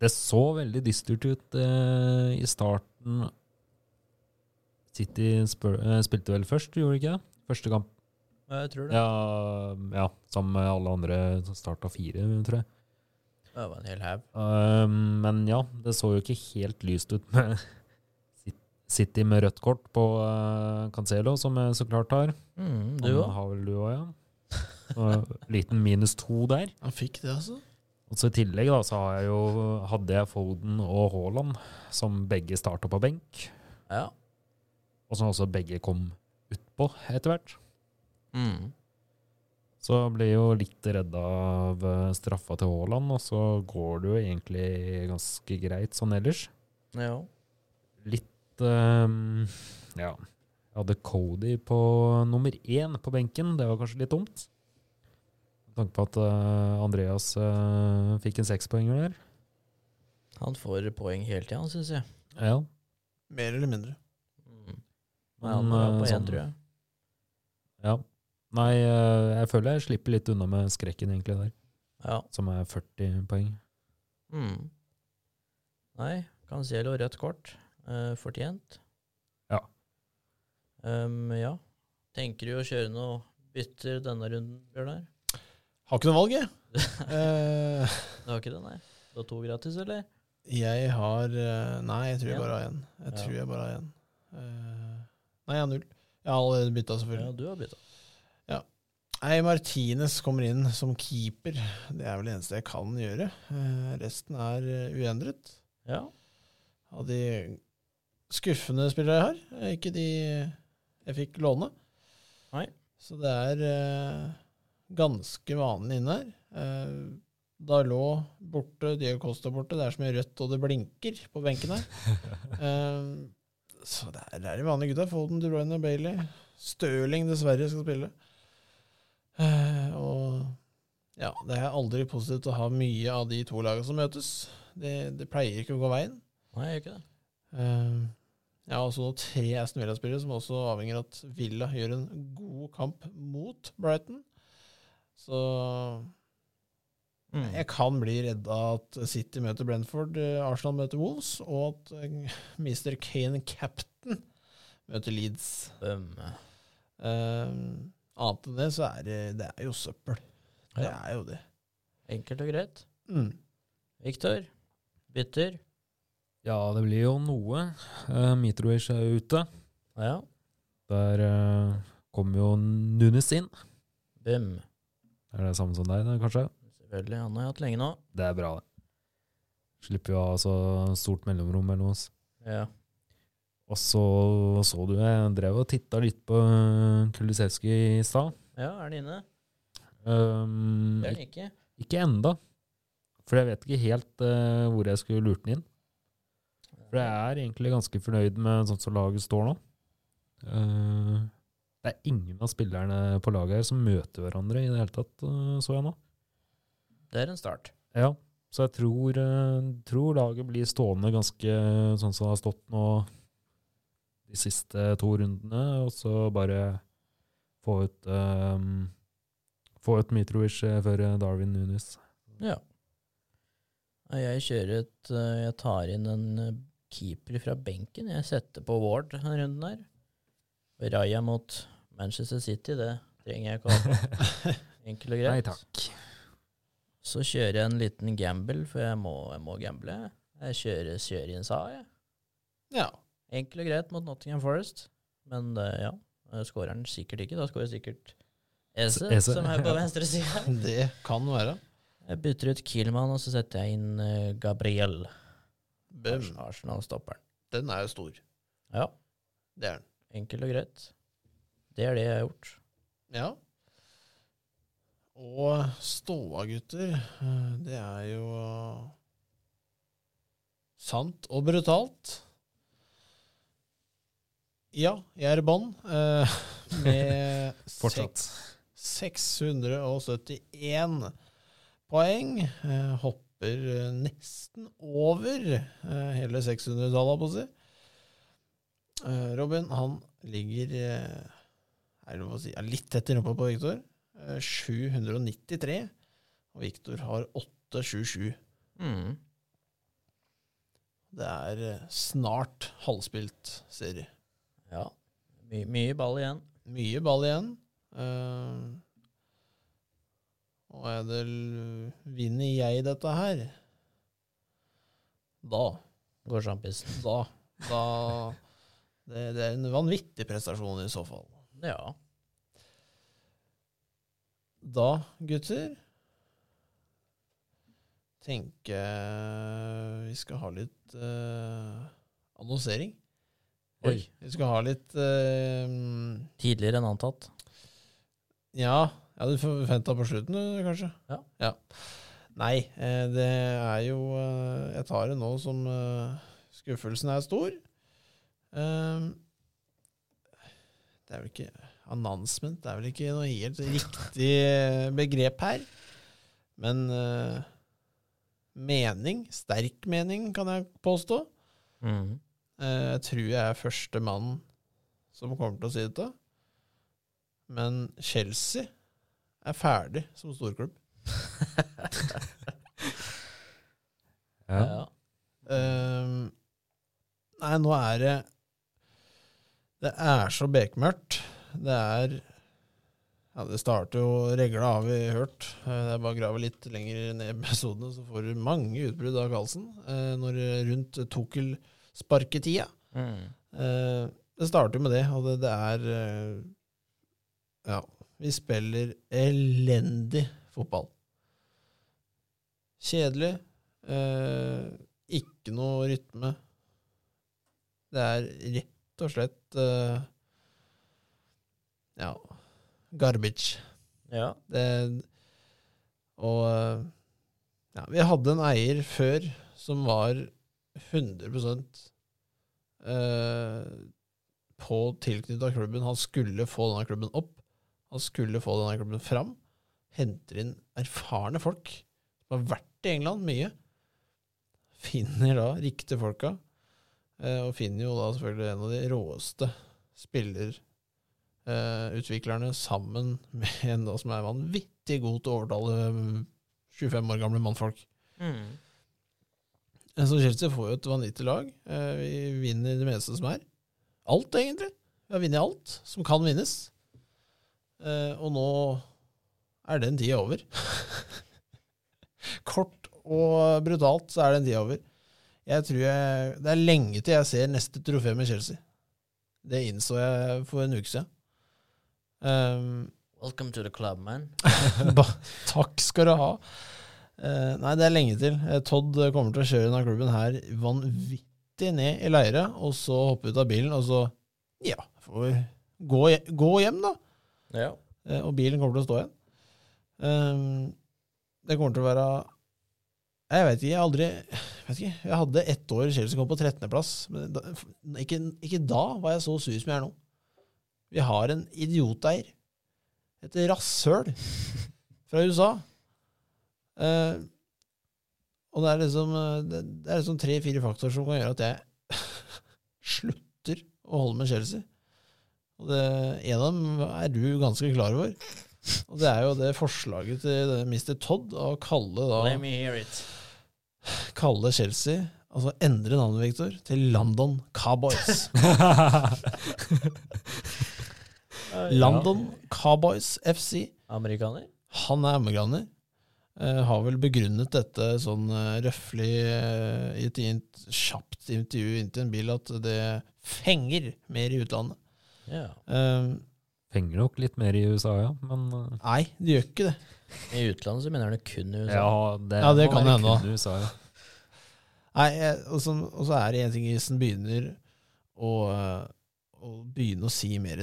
Speaker 3: Det så veldig dystert ut eh, i starten. City spør, eh, spilte vel først, gjorde de ikke det? Første kamp.
Speaker 2: Jeg tror det.
Speaker 3: Ja, ja, sammen med alle andre som starta fire, tror jeg.
Speaker 2: Det var en hel haug.
Speaker 3: Eh, men ja, det så jo ikke helt lyst ut med Sit- City med rødt kort på eh, Cancelo, som jeg så klart har.
Speaker 2: Mm, du
Speaker 3: Han
Speaker 2: òg.
Speaker 3: Har vel du òg, ja. Og liten minus to der.
Speaker 1: Han fikk det, altså.
Speaker 3: Og så I tillegg da, så har jeg jo, hadde jeg Foden og Haaland, som begge starta på benk.
Speaker 2: Ja.
Speaker 3: Og som også begge kom utpå etter hvert.
Speaker 2: Mm.
Speaker 3: Så jeg ble jo litt redd av eh, straffa til Haaland, og så går det jo egentlig ganske greit sånn ellers.
Speaker 2: ja.
Speaker 3: Litt eh, Ja. Jeg hadde Cody på nummer én på benken, det var kanskje litt dumt. Med tanke på at eh, Andreas eh, fikk en sekspoenger der.
Speaker 2: Han får poeng hele tida, syns jeg.
Speaker 3: Ja.
Speaker 1: Mer eller mindre.
Speaker 2: Mm. Nei,
Speaker 3: Men,
Speaker 2: han var
Speaker 3: eh,
Speaker 2: på
Speaker 3: sånn-
Speaker 2: én, tror jeg.
Speaker 3: Ja. Nei, eh, jeg føler jeg slipper litt unna med skrekken egentlig der,
Speaker 2: Ja.
Speaker 3: som er 40 poeng.
Speaker 2: Mm. Nei, Cancelo rødt kort. Eh, fortjent.
Speaker 3: Ja.
Speaker 2: Ehm, ja. Tenker du å kjøre noe bytter denne runden, Bjørnar?
Speaker 1: Har ikke noe valg, jeg.
Speaker 2: du
Speaker 1: Eh,
Speaker 2: har ikke det, nei? Du har to gratis, eller?
Speaker 1: Jeg har eh, Nei, jeg tror jeg
Speaker 2: En?
Speaker 1: bare har én. Jeg
Speaker 2: Ja.
Speaker 1: tror jeg bare har én. Eh, Nei, jeg har null. Jeg har allerede bytta,
Speaker 2: Ja,
Speaker 1: selvfølgelig.
Speaker 2: du har bytta.
Speaker 1: Nei, Martinez kommer inn som keeper. Det er vel det eneste jeg kan gjøre. Eh, Resten er eh, uendret.
Speaker 2: Ja.
Speaker 1: Av de skuffende spillere jeg har. eh, Ikke de jeg fikk låne.
Speaker 2: Nei.
Speaker 1: Så det er eh, ganske vanlig inne her. Eh, Dalot borte, Diego Costa borte. Det er så mye rødt, og det blinker på benken her. Ehm, så det er, det er de vanlige gutta. Foden, De Bruyne, Bailey. Stirling, dessverre, skal spille. Eh, og ja, det er aldri positivt å ha mye av de to lagene som møtes. Det, det pleier ikke å gå veien.
Speaker 2: Nei, jeg gjør ikke det.
Speaker 1: Eh, jeg har også noen tre Aston Villa-spillere som også avhenger av at Villa gjør en god kamp mot Brighton. Så
Speaker 2: Mm.
Speaker 1: jeg kan bli redd av at City møter Brentford, eh, Arsenal møter Wolves, og at eh, Mr. Kane Captain møter Leeds.
Speaker 2: Bøm.
Speaker 1: Eh, annet enn det, så er det, det er jo søppel. Det
Speaker 2: Ja.
Speaker 1: er jo det.
Speaker 2: Enkelt og greit.
Speaker 1: Mm.
Speaker 2: Viktor, bytter.
Speaker 3: Ja, det blir jo noe. Uh, Mitrovic er jo ute.
Speaker 2: Ja.
Speaker 3: Der uh, kommer jo Nunes inn.
Speaker 2: Bøm.
Speaker 3: Er det samme som deg, da, kanskje?
Speaker 2: Selvfølgelig. Han har jeg hatt lenge nå.
Speaker 3: Det er bra, det. Slipper jo å ha så stort mellomrom mellom oss.
Speaker 2: Ja.
Speaker 3: Og så så du jeg drev og titta litt på eh, Kulisevskij i stad.
Speaker 2: ja, er han inne?
Speaker 3: Um,
Speaker 2: Det er han ikke.
Speaker 3: ikke enda. For jeg vet ikke helt eh, hvor jeg skulle lurt den inn. For jeg er egentlig ganske fornøyd med sånn som laget står nå. Eh, det er ingen av spillerne på laget her som møter hverandre i det hele tatt, eh, så jeg nå.
Speaker 2: Det er en start.
Speaker 3: Ja, så jeg tror, eh, tror laget blir stående ganske sånn som det har stått nå de siste to rundene, og så bare få ut, eh, få ut Mitrovic eh, før eh, Darwin Nunes.
Speaker 2: Ja. Nei, Jeg kjører et eh, Jeg tar inn en eh, keeper fra benken. Jeg setter på Ward denne runden her. Og Raja mot Manchester City, det trenger jeg ikke ha. Enkelt og greit.
Speaker 3: Nei takk.
Speaker 2: Så kjører jeg en liten gamble, for jeg må, jeg må gamble. Jeg kjører, kjører inn Sa, jeg.
Speaker 1: Ja.
Speaker 2: Enkelt og greit mot Nottingham Forest. Men eh, ja, eh, skårer han sikkert ikke. Da skårer sikkert Ese,
Speaker 3: Eze,
Speaker 2: som er på
Speaker 3: ja.
Speaker 2: venstre side.
Speaker 1: Det kan være.
Speaker 2: Jeg bytter ut Kielmann, og så setter jeg inn eh, Gabriel.
Speaker 1: Bøm.
Speaker 2: Ars- Arsenal-stopperen.
Speaker 1: Den er jo stor.
Speaker 2: Ja,
Speaker 1: Det er den.
Speaker 2: enkelt og greit. Det er det jeg har gjort.
Speaker 1: Ja. Og ståa, gutter, eh, det er jo sant og brutalt. Ja, jeg er i bånn eh, med
Speaker 3: Fortsatt.
Speaker 1: 671 poeng. Eh, hopper eh, nesten over eh, hele 600-tallet, på å si. Eh, Robin, han ligger eh, er det lov å si, er litt tett i rumpa på Viktor. Eh, 793. Og Viktor har 877.
Speaker 2: Mm.
Speaker 1: Det er eh, snart halvspilt serie.
Speaker 2: Ja. My mye ball igjen.
Speaker 1: Mye ball igjen. Eh, Og er det l- Vinner jeg dette her? Da.
Speaker 2: Går sjampisen.
Speaker 1: Da. Da det, det er en vanvittig prestasjon i så fall.
Speaker 2: Ja.
Speaker 1: Da, gutter Tenker jeg vi skal ha litt eh, annonsering.
Speaker 2: Oi.
Speaker 1: Vi skal ha litt eh,
Speaker 2: Tidligere enn antatt.
Speaker 1: Ja, ja du forventa på slutten, du, kanskje?
Speaker 2: Ja.
Speaker 1: Nei, eh, det er jo eh, Jeg tar det nå som eh, skuffelsen er stor. Ehm, det er vel ikke Announcement det er vel ikke noe helt riktig eh, begrep her. Men eh, mening, sterk mening, kan jeg påstå.
Speaker 2: Mm.
Speaker 1: Eh, Jeg tror jeg er første mann som kommer til å si dette. Men Chelsea er ferdig som storklubb.
Speaker 3: Ja.
Speaker 2: Ja.
Speaker 1: Ehm, nei, nå er det Det er så bekmørkt. Det er Ja, det starter jo regla, har vi hørt. Eh, Det er bare å grave litt lenger ned i episodene, så får du mange utbrudd av Karlsen eh, når det er rundt Tuchel-sparketida.
Speaker 2: Mm.
Speaker 1: Eh, det starter jo med det, og det, det er eh, Ja, vi spiller elendig fotball. Kjedelig. eh, ikke noe rytme. Det er rett og slett eh, Ja, garbage.
Speaker 2: ja.
Speaker 1: Det, og eh, ja, vi hadde en eier før som var 100 eh, på tilknytta klubben. Han skulle få denne klubben opp. Han skulle få denne klubben fram. Henter inn erfarne folk som har vært i England mye. Finner da riktige folka, eh, og finner jo da selvfølgelig en av de råeste spiller eh, utviklerne sammen med en da som er vanvittig god til å overtale eh, 25 år gamle mannfolk.
Speaker 2: Mm.
Speaker 1: Eh, Så Chelsea får jo et vanvittig lag. Eh, Vi vinner det meste som er. Alt, egentlig. Vi har vunnet alt som kan vinnes. Eh, Og nå er den tida over. Kort og brutalt så er den tida over. Jeg tror jeg, Det er lenge til jeg ser neste trofé med Chelsea. Det innså jeg for en uke siden. Um,
Speaker 2: Welcome to the club, man.
Speaker 1: Ba, takk skal du ha. Eh, nei, det er lenge til. Eh, Todd kommer til å kjøre denne klubben her vanvittig ned i leire, og så hoppe ut av bilen, og så Ja, får vi gå, hje- gå hjem, da.
Speaker 2: Ja.
Speaker 1: Eh, og bilen kommer til å stå igjen. Ehm, det kommer til å være Jeg vet ikke, jeg har aldri jeg vet ikke, Jeg hadde ett år i Chelsea kom på 13.-plass. Men da, ikke, ikke da var jeg så sur som jeg er nå. Vi har en idioteier. Et rasshøl fra USA. Eh, og det er liksom eh, Det, det er liksom tre-fire faktorer som kan gjøre at jeg slutter å holde med Chelsea. Og det, en av dem er du ganske klar over. Og det er jo det forslaget til det Mr. Todd å kalle,
Speaker 2: Let
Speaker 1: da,
Speaker 2: me hear it.
Speaker 1: kalle Chelsea Altså endre navnet, Victor, til London Cowboys. London Cowboys FC.
Speaker 2: Amerikaner?
Speaker 1: Han er emmegranner. eh, har vel begrunnet dette sånn eh, røffelig eh, i et int- kjapt intervju inntil en bil at det fenger mer i utlandet.
Speaker 2: Ja.
Speaker 1: Eh,
Speaker 3: Fenger nok litt mer i USA, ja. Men eh,
Speaker 1: nei, det gjør ikke det.
Speaker 2: I utlandet så mener han det kun i USA.
Speaker 3: ja, det,
Speaker 1: Ja, det
Speaker 3: må
Speaker 1: kan
Speaker 3: være
Speaker 1: hende, da.
Speaker 3: kun USA, ja.
Speaker 1: Nei, jeg- og, så, og så er det en ting hvis den begynner å, eh, å begynne å si mer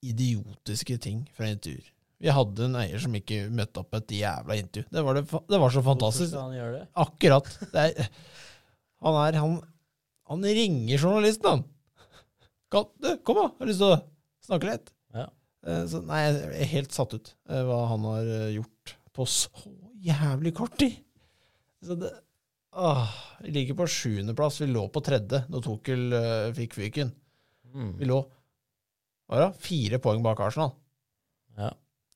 Speaker 1: idiotiske ting fra intervjuer. Vi hadde en eier som ikke møtte opp på et jævla intervju. Det var, det, fa- det var så fantastisk.
Speaker 2: Hvorfor skal han gjøre det?
Speaker 1: Akkurat. Det er, han er han, han ringer journalisten, han. Kan, du, kom, da. Har du lyst til å snakke litt?
Speaker 2: Ja.
Speaker 1: Eh, Så, nei, jeg er helt satt ut eh, hva han har eh, gjort på så jævlig kort tid. Så det Åh, Vi ligger på sjuendeplass. Vi lå på tredje når Tuchel eh, fikk fyken. Vi
Speaker 2: Mm.
Speaker 1: lå hva da, fire poeng bak Arsenal.
Speaker 2: Ja.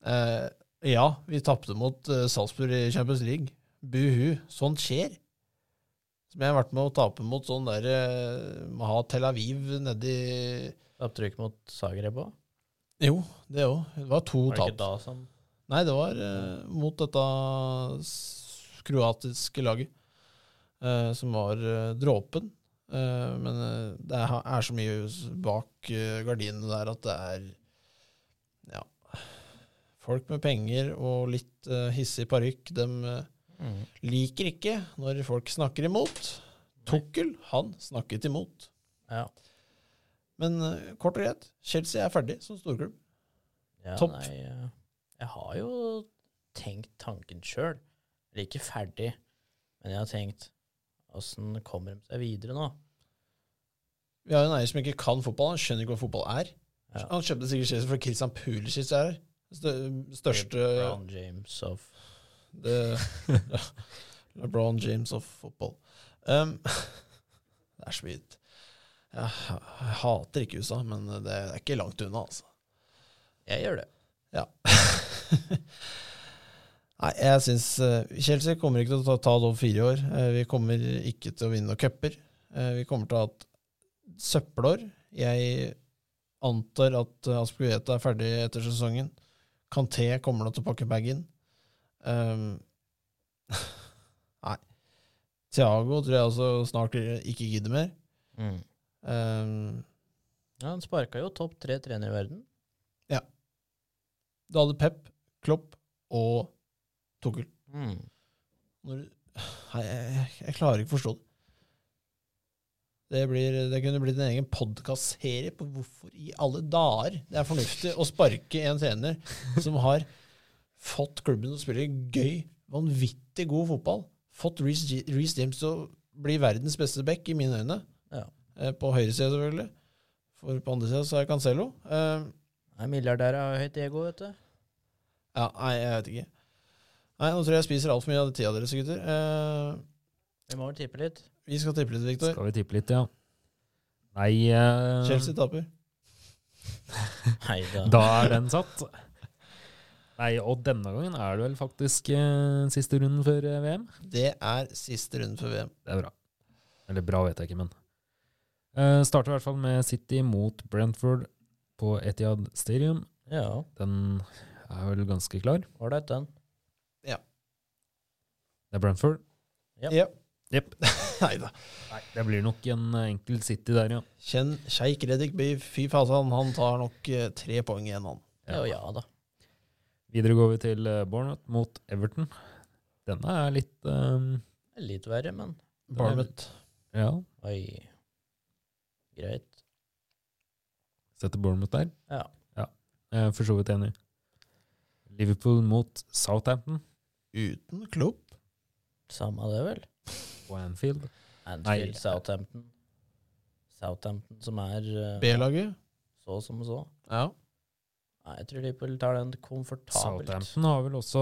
Speaker 1: Eh, ja, vi tapte mot eh, Salzburg i Champions League. Buhu. Sånt skjer. Som jeg har vært med å tape mot sånn der eh, må ha Tel Aviv nedi
Speaker 2: Opptrykk mot Zagreb òg?
Speaker 1: Jo, det òg. Det var to
Speaker 2: Var det
Speaker 1: tap.
Speaker 2: ikke da som
Speaker 1: Nei, det var eh, mot dette s- kroatiske laget, eh, som var eh, dråpen. Eh, men eh, det er, er så mye s- bak eh, gardinene der at det er ja, folk med penger og litt eh, hissig parykk. De
Speaker 2: Mm.
Speaker 1: liker ikke når folk snakker imot. Tukkel, han snakket imot.
Speaker 2: Ja.
Speaker 1: Men eh, kort og greit, Chelsea er ferdig som storklubb.
Speaker 2: Ja,
Speaker 1: Topp.
Speaker 2: Nei, eh, jeg har jo tenkt tanken sjøl. Eller ikke ferdig, men jeg har tenkt åssen kommer de seg videre nå?
Speaker 1: Vi har jo en eier som ikke kan fotball. Han skjønner ikke hva fotball er.
Speaker 2: Ja.
Speaker 1: Han kjøpte sikkert Chelsea fra Kristian Pulisic er her. Stø- Største
Speaker 2: Brown James of
Speaker 1: det, ja, LeBron James of football. Um, det er så vidt. Jeg, ha- jeg hater ikke USA, men det er ikke langt unna, altså.
Speaker 2: Jeg gjør det.
Speaker 1: Ja. Nei, jeg syns eh, Chelsea kommer ikke til å ta, ta det over fire år. Eh, Vi kommer ikke til å vinne noen cuper. Eh, Vi kommer til å ha et søppelår. Jeg antar at eh, Aspilicueta er ferdig etter sesongen. Kanté kommer nå til å pakke bagen. Um, nei. Thiago tror jeg også snart ikke gidder mer.
Speaker 2: Mm.
Speaker 1: Um,
Speaker 2: Ja, han sparka jo topp tre trenere i verden.
Speaker 1: du hadde Pep, Klopp og Tuchel.
Speaker 2: Mm.
Speaker 1: Når, du- nei, jeg, jeg klarer ikke å forstå det. Det, blir, det kunne blitt en egen podkastserie på hvorfor i alle dager det er fornuftig å sparke en trener som har fått klubben til å spille gøy, vanvittig god fotball, fått Reece G- Reece James til å bli verdens beste back, i mine øyne.
Speaker 2: Ja.
Speaker 1: Eh, På høyresida, selvfølgelig. For på andre sida så er Cancelo. Eh,
Speaker 2: Nei, Milliardærer har høyt ego, vet du.
Speaker 1: ja, nei, jeg vet ikke. Nei, Nå tror jeg jeg spiser altfor mye av tida deres, gutter. Eh,
Speaker 2: Vi må vel tippe litt.
Speaker 1: vi skal tippe litt, Viktor.
Speaker 3: Skal vi tippe litt, ja? Nei eh,
Speaker 1: Chelsea taper.
Speaker 2: Nei da.
Speaker 3: Da er den satt. Nei, og denne gangen er det vel faktisk eh, siste runden før eh, VM.
Speaker 1: Det er siste runde for VM.
Speaker 3: Det er bra. Eller bra vet jeg ikke, men. Eh, starter i hvert fall med City mot Brentford på Etiad Stadium.
Speaker 2: Ja,
Speaker 3: Den er vel ganske klar.
Speaker 2: ålreit, den.
Speaker 3: Det er Brentford.
Speaker 2: Ja.
Speaker 1: Ja.
Speaker 3: Jepp.
Speaker 1: Nei da.
Speaker 3: Nei, det blir nok en eh, enkel City der, ja.
Speaker 1: Kjenn Sjeik Reddik by fy fasan. Han tar nok eh, tre poeng igjen, han.
Speaker 2: Ja, ja da.
Speaker 3: Videre går vi til eh, Bournemouth mot Everton. Denne er litt eh,
Speaker 2: Det er Litt verre, men
Speaker 1: Barmet.
Speaker 3: Ja,
Speaker 2: oi. Greit.
Speaker 3: setter Bournemouth der.
Speaker 2: Ja.
Speaker 3: Jeg er for så vidt enig. Liverpool mot Southampton
Speaker 1: Uten klubb.
Speaker 2: Samme det, vel.
Speaker 3: på Anfield.
Speaker 2: Anfield,
Speaker 3: Nei.
Speaker 2: Southampton. Southampton som er eh,
Speaker 1: B-laget.
Speaker 2: så som så.
Speaker 1: Ja.
Speaker 2: Nei, jeg tror Liverpool tar den komfortabelt.
Speaker 3: Southampton har vel også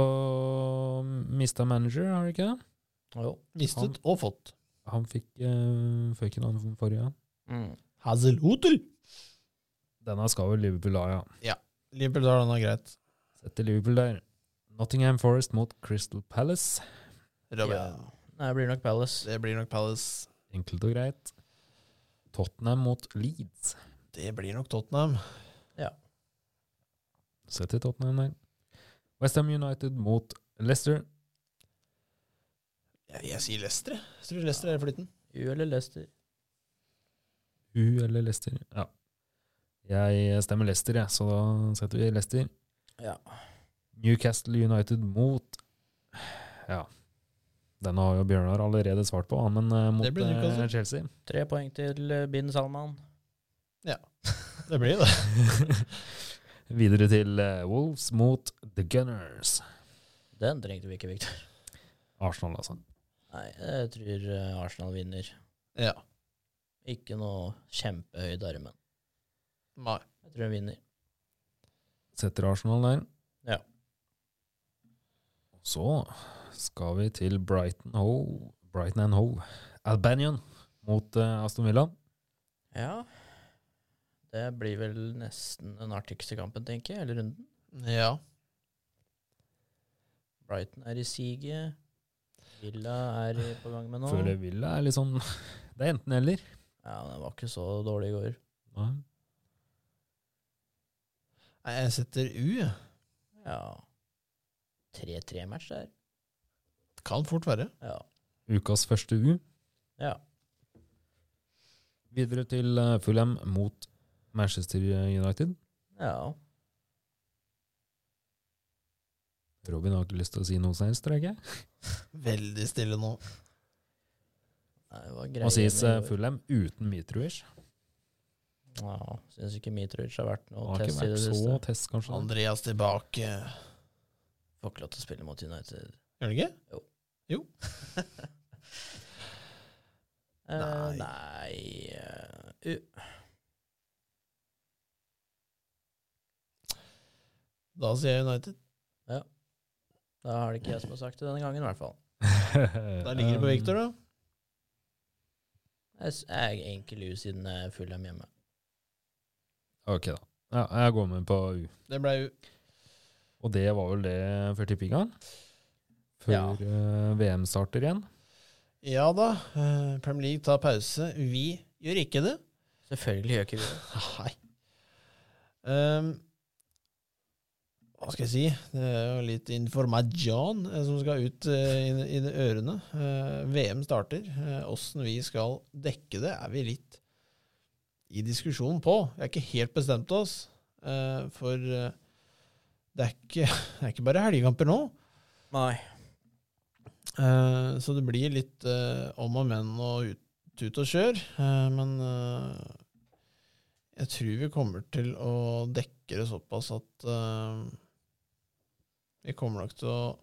Speaker 3: mista manager, har de ikke det?
Speaker 2: Jo.
Speaker 1: Mistet og fått.
Speaker 3: Han fikk uh, føyken han forrige.
Speaker 2: Mm.
Speaker 1: Hazelhotel.
Speaker 3: Denne skal vel Liverpool ha, ja.
Speaker 1: Liverpool tar denne greit.
Speaker 3: Setter Liverpool der. Nottingham Forest mot Crystal Palace.
Speaker 1: Robin.
Speaker 2: Ja. Nei, det blir nok Palace.
Speaker 1: Det blir nok Palace.
Speaker 3: Enkelt og greit. Tottenham mot Leeds.
Speaker 1: Det blir nok Tottenham.
Speaker 3: Setter Tottenham der. Westham United mot Leicester.
Speaker 1: Jeg, jeg sier Leicester. jeg. Jeg tror Leicester er i flytten.
Speaker 2: U eller Leicester?
Speaker 3: U eller Leicester? Ja. Jeg stemmer Leicester, jeg, så da setter vi Leicester.
Speaker 2: Ja.
Speaker 3: Newcastle United mot Ja. Den har jo Bjørnar allerede svart på, han, men eh, mot
Speaker 1: Det blir Newcastle.
Speaker 3: eh, Chelsea.
Speaker 2: Tre poeng til eh, Bin Salman.
Speaker 1: Det blir det.
Speaker 3: Videre til eh, Wolves mot The Gunners.
Speaker 2: Den trengte vi ikke, Victor.
Speaker 3: Arsenal, altså.
Speaker 2: Nei, jeg tror eh, Arsenal vinner.
Speaker 1: Ja.
Speaker 2: Ikke noe kjempehøy darmen.
Speaker 1: Nei.
Speaker 2: Jeg tror de vinner.
Speaker 3: Setter Arsenal der.
Speaker 2: Ja.
Speaker 3: Så skal vi til Brighton Hove. Brighton and Hove. Albanian mot eh, Aston Villa.
Speaker 2: Ja. Det blir vel nesten den artigste kampen, tenker jeg. Eller runden.
Speaker 1: Ja.
Speaker 2: Brighton er i siget. Villa er i, på gang med nå.
Speaker 3: Føler Villa er litt sånn Det er enten-eller.
Speaker 2: Ja, den var ikke så dårlig i går.
Speaker 1: Nei, jeg setter U. jeg.
Speaker 2: Ja. 3-3-match der.
Speaker 1: Kan fort være.
Speaker 2: Ja.
Speaker 3: Ukas første U.
Speaker 2: ja.
Speaker 3: Videre til eh, Fulham mot Manchester United.
Speaker 2: ja.
Speaker 3: Robin har ikke lyst til å si noe som helst, tror jeg. ikke.
Speaker 1: Veldig stille nå.
Speaker 2: Nei, det var
Speaker 3: Hva
Speaker 2: greie
Speaker 3: sies
Speaker 2: med-
Speaker 3: eh, Fulham uten Mitrovic?
Speaker 2: Ja, Syns ikke Mitrovic har vært noe
Speaker 3: Han har ikke
Speaker 2: test i det
Speaker 3: vært så
Speaker 2: siste.
Speaker 3: test, kanskje.
Speaker 1: Andreas tilbake.
Speaker 2: Får ikke lov til å spille mot United.
Speaker 1: Gjør han ikke?
Speaker 2: Eh,
Speaker 1: Nei.
Speaker 2: nei eh, u-
Speaker 1: Da sier jeg United.
Speaker 2: Da har det ikke jeg som har sagt det denne gangen, i hvert fall.
Speaker 1: Der ligger det
Speaker 3: Um,
Speaker 1: på Victor, da.
Speaker 2: Jeg s- jeg er enkel U siden jeg er full av hjemme.
Speaker 3: Ok, da. Ja, jeg går med på U.
Speaker 1: Det ble jo
Speaker 3: Og det var vel det for tippinga? Før
Speaker 2: Ja.
Speaker 3: eh, VM starter igjen?
Speaker 1: Ja da. eh, Premier League tar pause. Vi gjør ikke det.
Speaker 2: Selvfølgelig gjør ikke vi det.
Speaker 1: Nei. Ehm, hva skal jeg si? Det er jo litt information eh, som skal ut eh, i, i de ørene. Eh, VM starter. Åssen vi skal dekke det, er vi litt i diskusjon på. Vi er ikke helt bestemt oss, eh, for eh, det, er ikke, det er ikke bare helgekamper nå.
Speaker 2: Nei.
Speaker 1: Eh, Så det blir litt eh, om og men og ut, ut og kjør. Eh, men eh, jeg tror vi kommer til å dekke det såpass at eh, vi kommer nok til å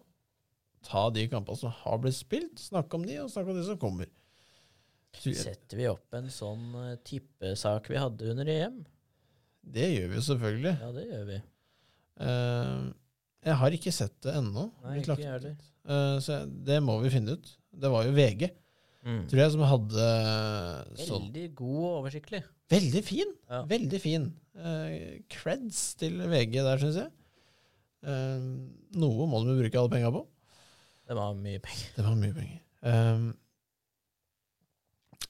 Speaker 1: ta de kampene som har blitt spilt, snakke om de, og snakke om de som kommer. Så jeg-
Speaker 2: Setter vi opp en sånn eh, tippesak vi hadde under EM?
Speaker 1: Det gjør vi jo selvfølgelig.
Speaker 2: Ja, det gjør vi.
Speaker 1: Eh, jeg har ikke sett det ennå.
Speaker 2: Nei,
Speaker 1: Blitt
Speaker 2: ikke
Speaker 1: lagt
Speaker 2: jeg
Speaker 1: ut.
Speaker 2: heller.
Speaker 1: Eh, så jeg- det må vi finne ut. Det var jo VG,
Speaker 2: Mm.
Speaker 1: tror jeg, som hadde sånn
Speaker 2: Veldig god og oversiktlig.
Speaker 1: Veldig fin!
Speaker 2: Ja.
Speaker 1: Veldig fin. Eh, creds til VG der, syns jeg. Eh, noe må de jo bruke alle penga på.
Speaker 2: Det var mye penger.
Speaker 1: Det var mye penger.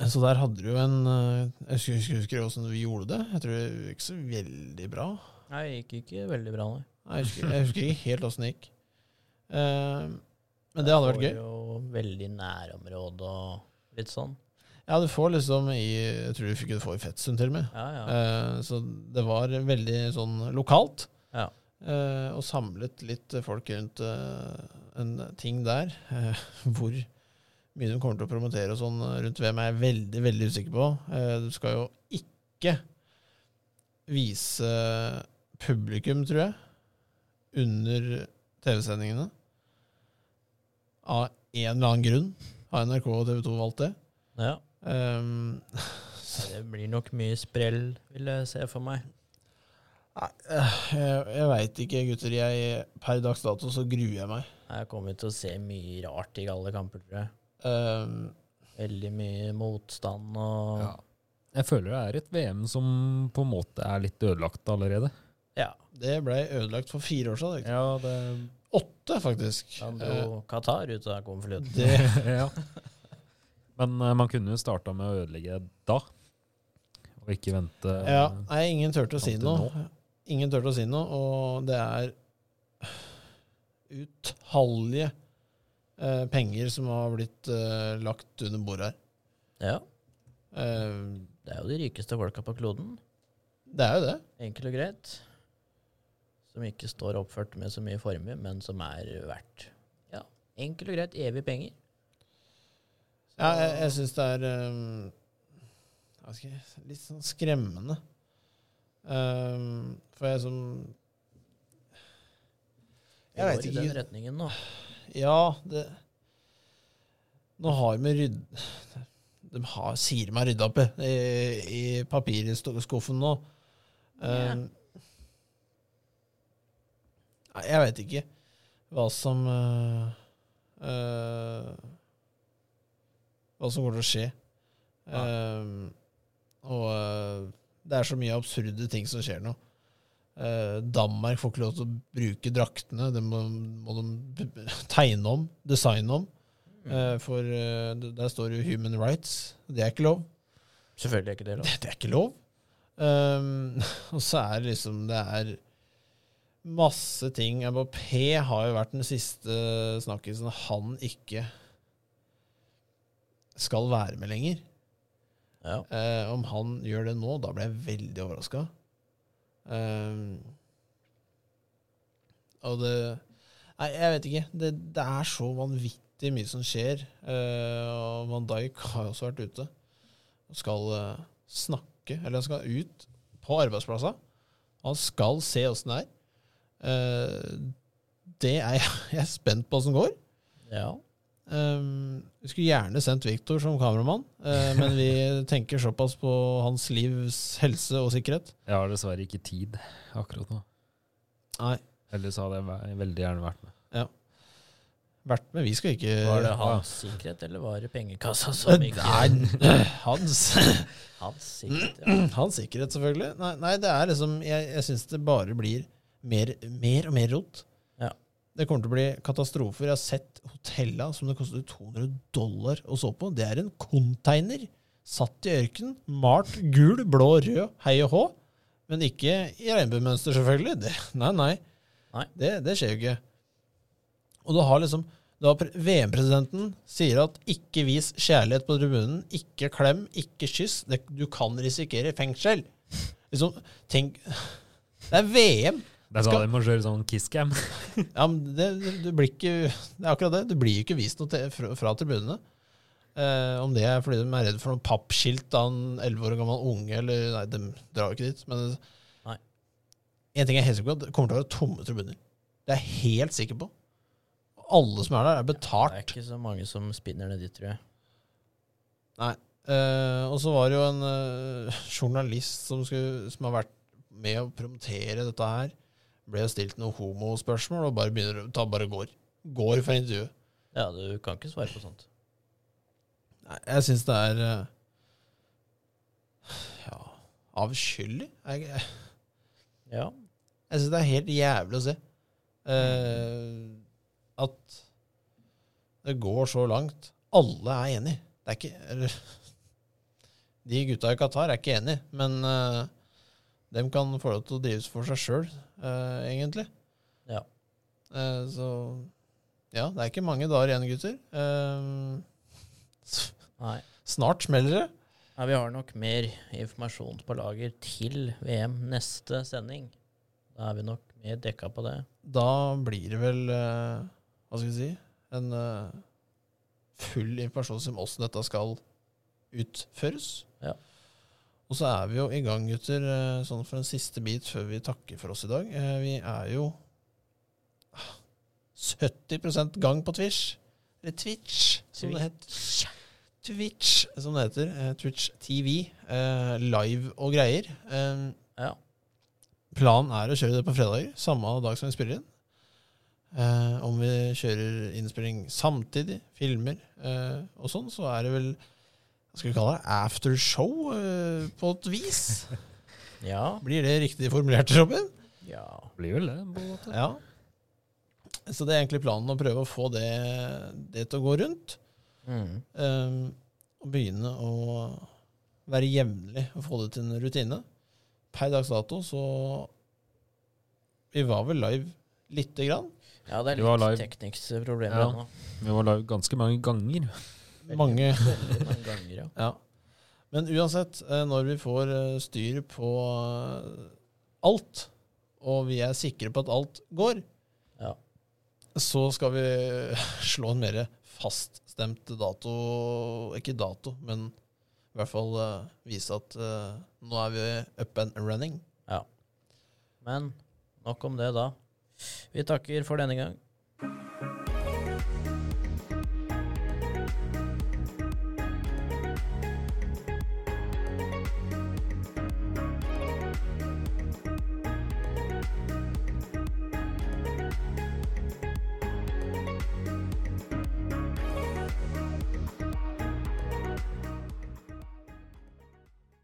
Speaker 1: Eh, så der hadde du jo en eh, Jeg husker, husker, husker åssen vi gjorde det. Jeg tror det gikk så veldig bra.
Speaker 2: Nei, det gikk ikke veldig bra, nei.
Speaker 1: Nei, Jeg husker, jeg husker ikke helt åssen det gikk. Eh, men det hadde vært
Speaker 2: Det
Speaker 1: gøy.
Speaker 2: var jo veldig nærområde og litt sånn.
Speaker 1: Ja, du får liksom i Jeg tror du fikk det få i Fettsund, til og med.
Speaker 2: Ja, ja.
Speaker 1: Eh, Så det var veldig sånn lokalt.
Speaker 2: Ja.
Speaker 1: Eh, og samlet litt folk rundt eh, en ting der. Eh, hvor mye de kommer til å promotere og sånn rundt VM, er jeg veldig veldig usikker på. Eh, du skal jo ikke vise publikum, tror jeg, under TV-sendingene. Av en eller annen grunn har NRK og TV 2 valgt det.
Speaker 2: ja.
Speaker 1: Eh,
Speaker 2: Det blir nok mye sprell, vil jeg se for meg.
Speaker 1: Nei, eh, jeg, jeg veit ikke, gutter. Jeg, per dags dato så gruer jeg meg.
Speaker 2: Jeg kommer til å se mye rart i alle kamper, tror jeg.
Speaker 1: Ehm,
Speaker 2: Veldig mye motstand og
Speaker 3: Ja. Jeg føler det er et VM som på en måte er litt ødelagt allerede.
Speaker 2: Ja.
Speaker 1: det blei ødelagt for fire år siden. ikke?
Speaker 3: Ja, det
Speaker 1: Åtte, faktisk.
Speaker 2: Han dro Qatar ut av
Speaker 1: Eh,
Speaker 2: konvolutten.
Speaker 1: det,
Speaker 3: ja. Men eh, man kunne jo starta med å ødelegge da, og ikke vente
Speaker 1: ja, nei, ingen turte å si
Speaker 3: eh, Fram til
Speaker 1: noe. Ingen turte å si noe, og det er utallige eh, penger som har blitt eh, lagt under bordet her.
Speaker 2: Ja.
Speaker 1: Eh,
Speaker 2: Det er jo de rikeste folka på kloden,
Speaker 1: det er jo det.
Speaker 2: enkelt og greit. Som ikke står oppført med så mye formue, men som er verdt Ja, enkelt og greit evig penger. Så-
Speaker 1: Ja, jeg, jeg syns det er ehm, hva skal jeg, si, litt sånn skremmende. Ehm, for jeg som
Speaker 2: Vi
Speaker 1: Jeg
Speaker 2: går
Speaker 1: veit
Speaker 2: i den
Speaker 1: ikke
Speaker 2: retningen nå.
Speaker 1: Ja, det Nå har vi rydd... De har, sier de har rydda opp i, i papirskuffen nå. Ehm, Nei, jeg veit ikke hva som eh, eh, Hva som kommer til å skje. Ehm, og eh, det er så mye absurde ting som skjer nå. Eh, Danmark får ikke lov til å bruke draktene. Det må, må de b- b- tegne om, designe om. Eh, for eh, det- der står jo 'human rights'. Det er ikke lov.
Speaker 2: Selvfølgelig er ikke det lov.
Speaker 1: Det, det er ikke lov. Ehm, og så er det liksom Det er Masse ting. Mbappé har jo vært den siste snakkisen han ikke skal være med lenger.
Speaker 2: Ja.
Speaker 1: Eh, om han gjør det nå, da blir jeg veldig overraska. og det Nei, jeg vet ikke. Det, det er så vanvittig mye som skjer. Eh, og Van Dijk har jo også vært ute. Og skal eh, snakke Eller han skal ut på arbeidsplassen. Han skal se åssen det er. Eh, det er jeg, jeg er spent på åssen går.
Speaker 2: ja.
Speaker 1: Um, vi skulle gjerne sendt Viktor som kameramann, eh, men vi tenker såpass på hans livs helse og sikkerhet.
Speaker 3: Jeg har dessverre ikke tid akkurat nå.
Speaker 1: Nei,
Speaker 3: Ellers hadde jeg ve- veldig gjerne vært med.
Speaker 1: vært med. Vi skal ikke
Speaker 2: Var det
Speaker 3: ja.
Speaker 2: hans sikkerhet, eller var det pengekassa som ikke
Speaker 1: Nei, hans,
Speaker 2: Hans sikkerhet, ja.
Speaker 1: hans sikkerhet, selvfølgelig. Nei, nei, det er liksom Jeg, jeg syns det bare blir mer, mer og mer rot.
Speaker 2: Ja.
Speaker 1: Det kommer til å bli katastrofer. Jeg har sett hotella som det kostet 200 dollar å sove på. Det er en container satt i ørkenen, malt gul, blå, rød, hei og hå. Men ikke i regnbuemønster, selvfølgelig. Det, nei, nei.
Speaker 2: Nei.
Speaker 1: Det, det skjer jo ikke. Og du har liksom du har pre- VM-presidenten sier at ikke vis kjærlighet på tribunen, ikke klem, ikke kyss. Det, du kan risikere fengsel. Liksom, tenk Det er VM!
Speaker 3: Det sa
Speaker 1: Skal-
Speaker 3: de må kjøre sånn kisscam.
Speaker 1: Ja, men det, det, blir ikke, det er akkurat det. Det blir jo ikke vist noe til, fra, fra tribunene. Eh, om det er fordi de er redd for noen pappskilt av en 11 år gammel unge, eller Nei, de drar jo ikke dit, men
Speaker 2: Nei.
Speaker 1: En ting jeg er helt sikker på, det kommer til å være tomme tribuner. Det er jeg helt sikker på. Alle som er der, er
Speaker 2: Det er
Speaker 1: betalt.
Speaker 2: ikke så mange som spinner nedi, tror jeg.
Speaker 1: Eh, og så var det jo en eh, journalist som, skulle, som har vært med å promotere dette her, ble jo stilt noen homospørsmål og bare begynner å ta bare går. Går for intervjuet.
Speaker 2: Ja, du kan ikke svare på sånt.
Speaker 1: Nei, jeg syns det er eh, Ja, avskyelig? Jeg, jeg
Speaker 2: Ja.
Speaker 1: syns det er helt jævlig å se. Eh, at det går så langt. Alle er enig. Det er ikke eller, De gutta i Qatar er ikke enig, men eh, dem kan få lov til å drives for seg sjøl, egentlig.
Speaker 2: Ja.
Speaker 1: Eh, så Ja, det er ikke mange dager igjen, gutter. Eh, s-
Speaker 2: Nei.
Speaker 1: snart smeller det.
Speaker 2: Nei, vi har nok mer informasjon på lager til VM neste sending. Da er vi nok mer dekka på det.
Speaker 1: da blir det vel eh, Hva skal vi si En eh, full informasjon om åssen dette skal utføres.
Speaker 2: Ja.
Speaker 1: Og så er vi jo i gang, gutter, eh, sånn for en siste bit før vi takker for oss i dag. Eh, Vi er jo ah, 70 gang på Twitch. Eller Twitch, som det heter. Twitch, som det heter. Eh, Twitch TV. eh, Live og greier. Eh,
Speaker 2: Ja.
Speaker 1: Planen er å kjøre det på fredager, samme dag som vi spiller inn. Eh, om vi kjører innspilling samtidig, filmer eh, og sånn, så er det vel Hva skal vi kalle det? Aftershow, eh, på et vis.
Speaker 2: Ja.
Speaker 1: Blir det riktig formulert, Robin?
Speaker 2: Ja.
Speaker 3: Blir vel det. på en måte.
Speaker 1: Ja. Så det er egentlig planen å prøve å få det, det til å gå rundt.
Speaker 2: Mm.
Speaker 1: Eh, og begynne å være jevnlig og få det til en rutine. Per dags dato så Vi var vel live lite grann.
Speaker 2: ja, det er
Speaker 3: Du var
Speaker 2: litt
Speaker 3: live.
Speaker 2: tekniske problemer
Speaker 3: Ja.
Speaker 2: nå.
Speaker 3: Vi var live ganske mange ganger.
Speaker 1: Mange
Speaker 2: Veldig mange ganger, ja.
Speaker 1: Ja. Men uansett, eh, når vi får eh, styr på eh, alt, og vi er sikre på at alt går,
Speaker 2: Ja.
Speaker 1: så skal vi eh, slå en mer faststemt dato Ikke dato, men i hvert fall eh, vise at eh, nå er vi up and running.
Speaker 2: Men nok om det, da. Vi takker for denne gang.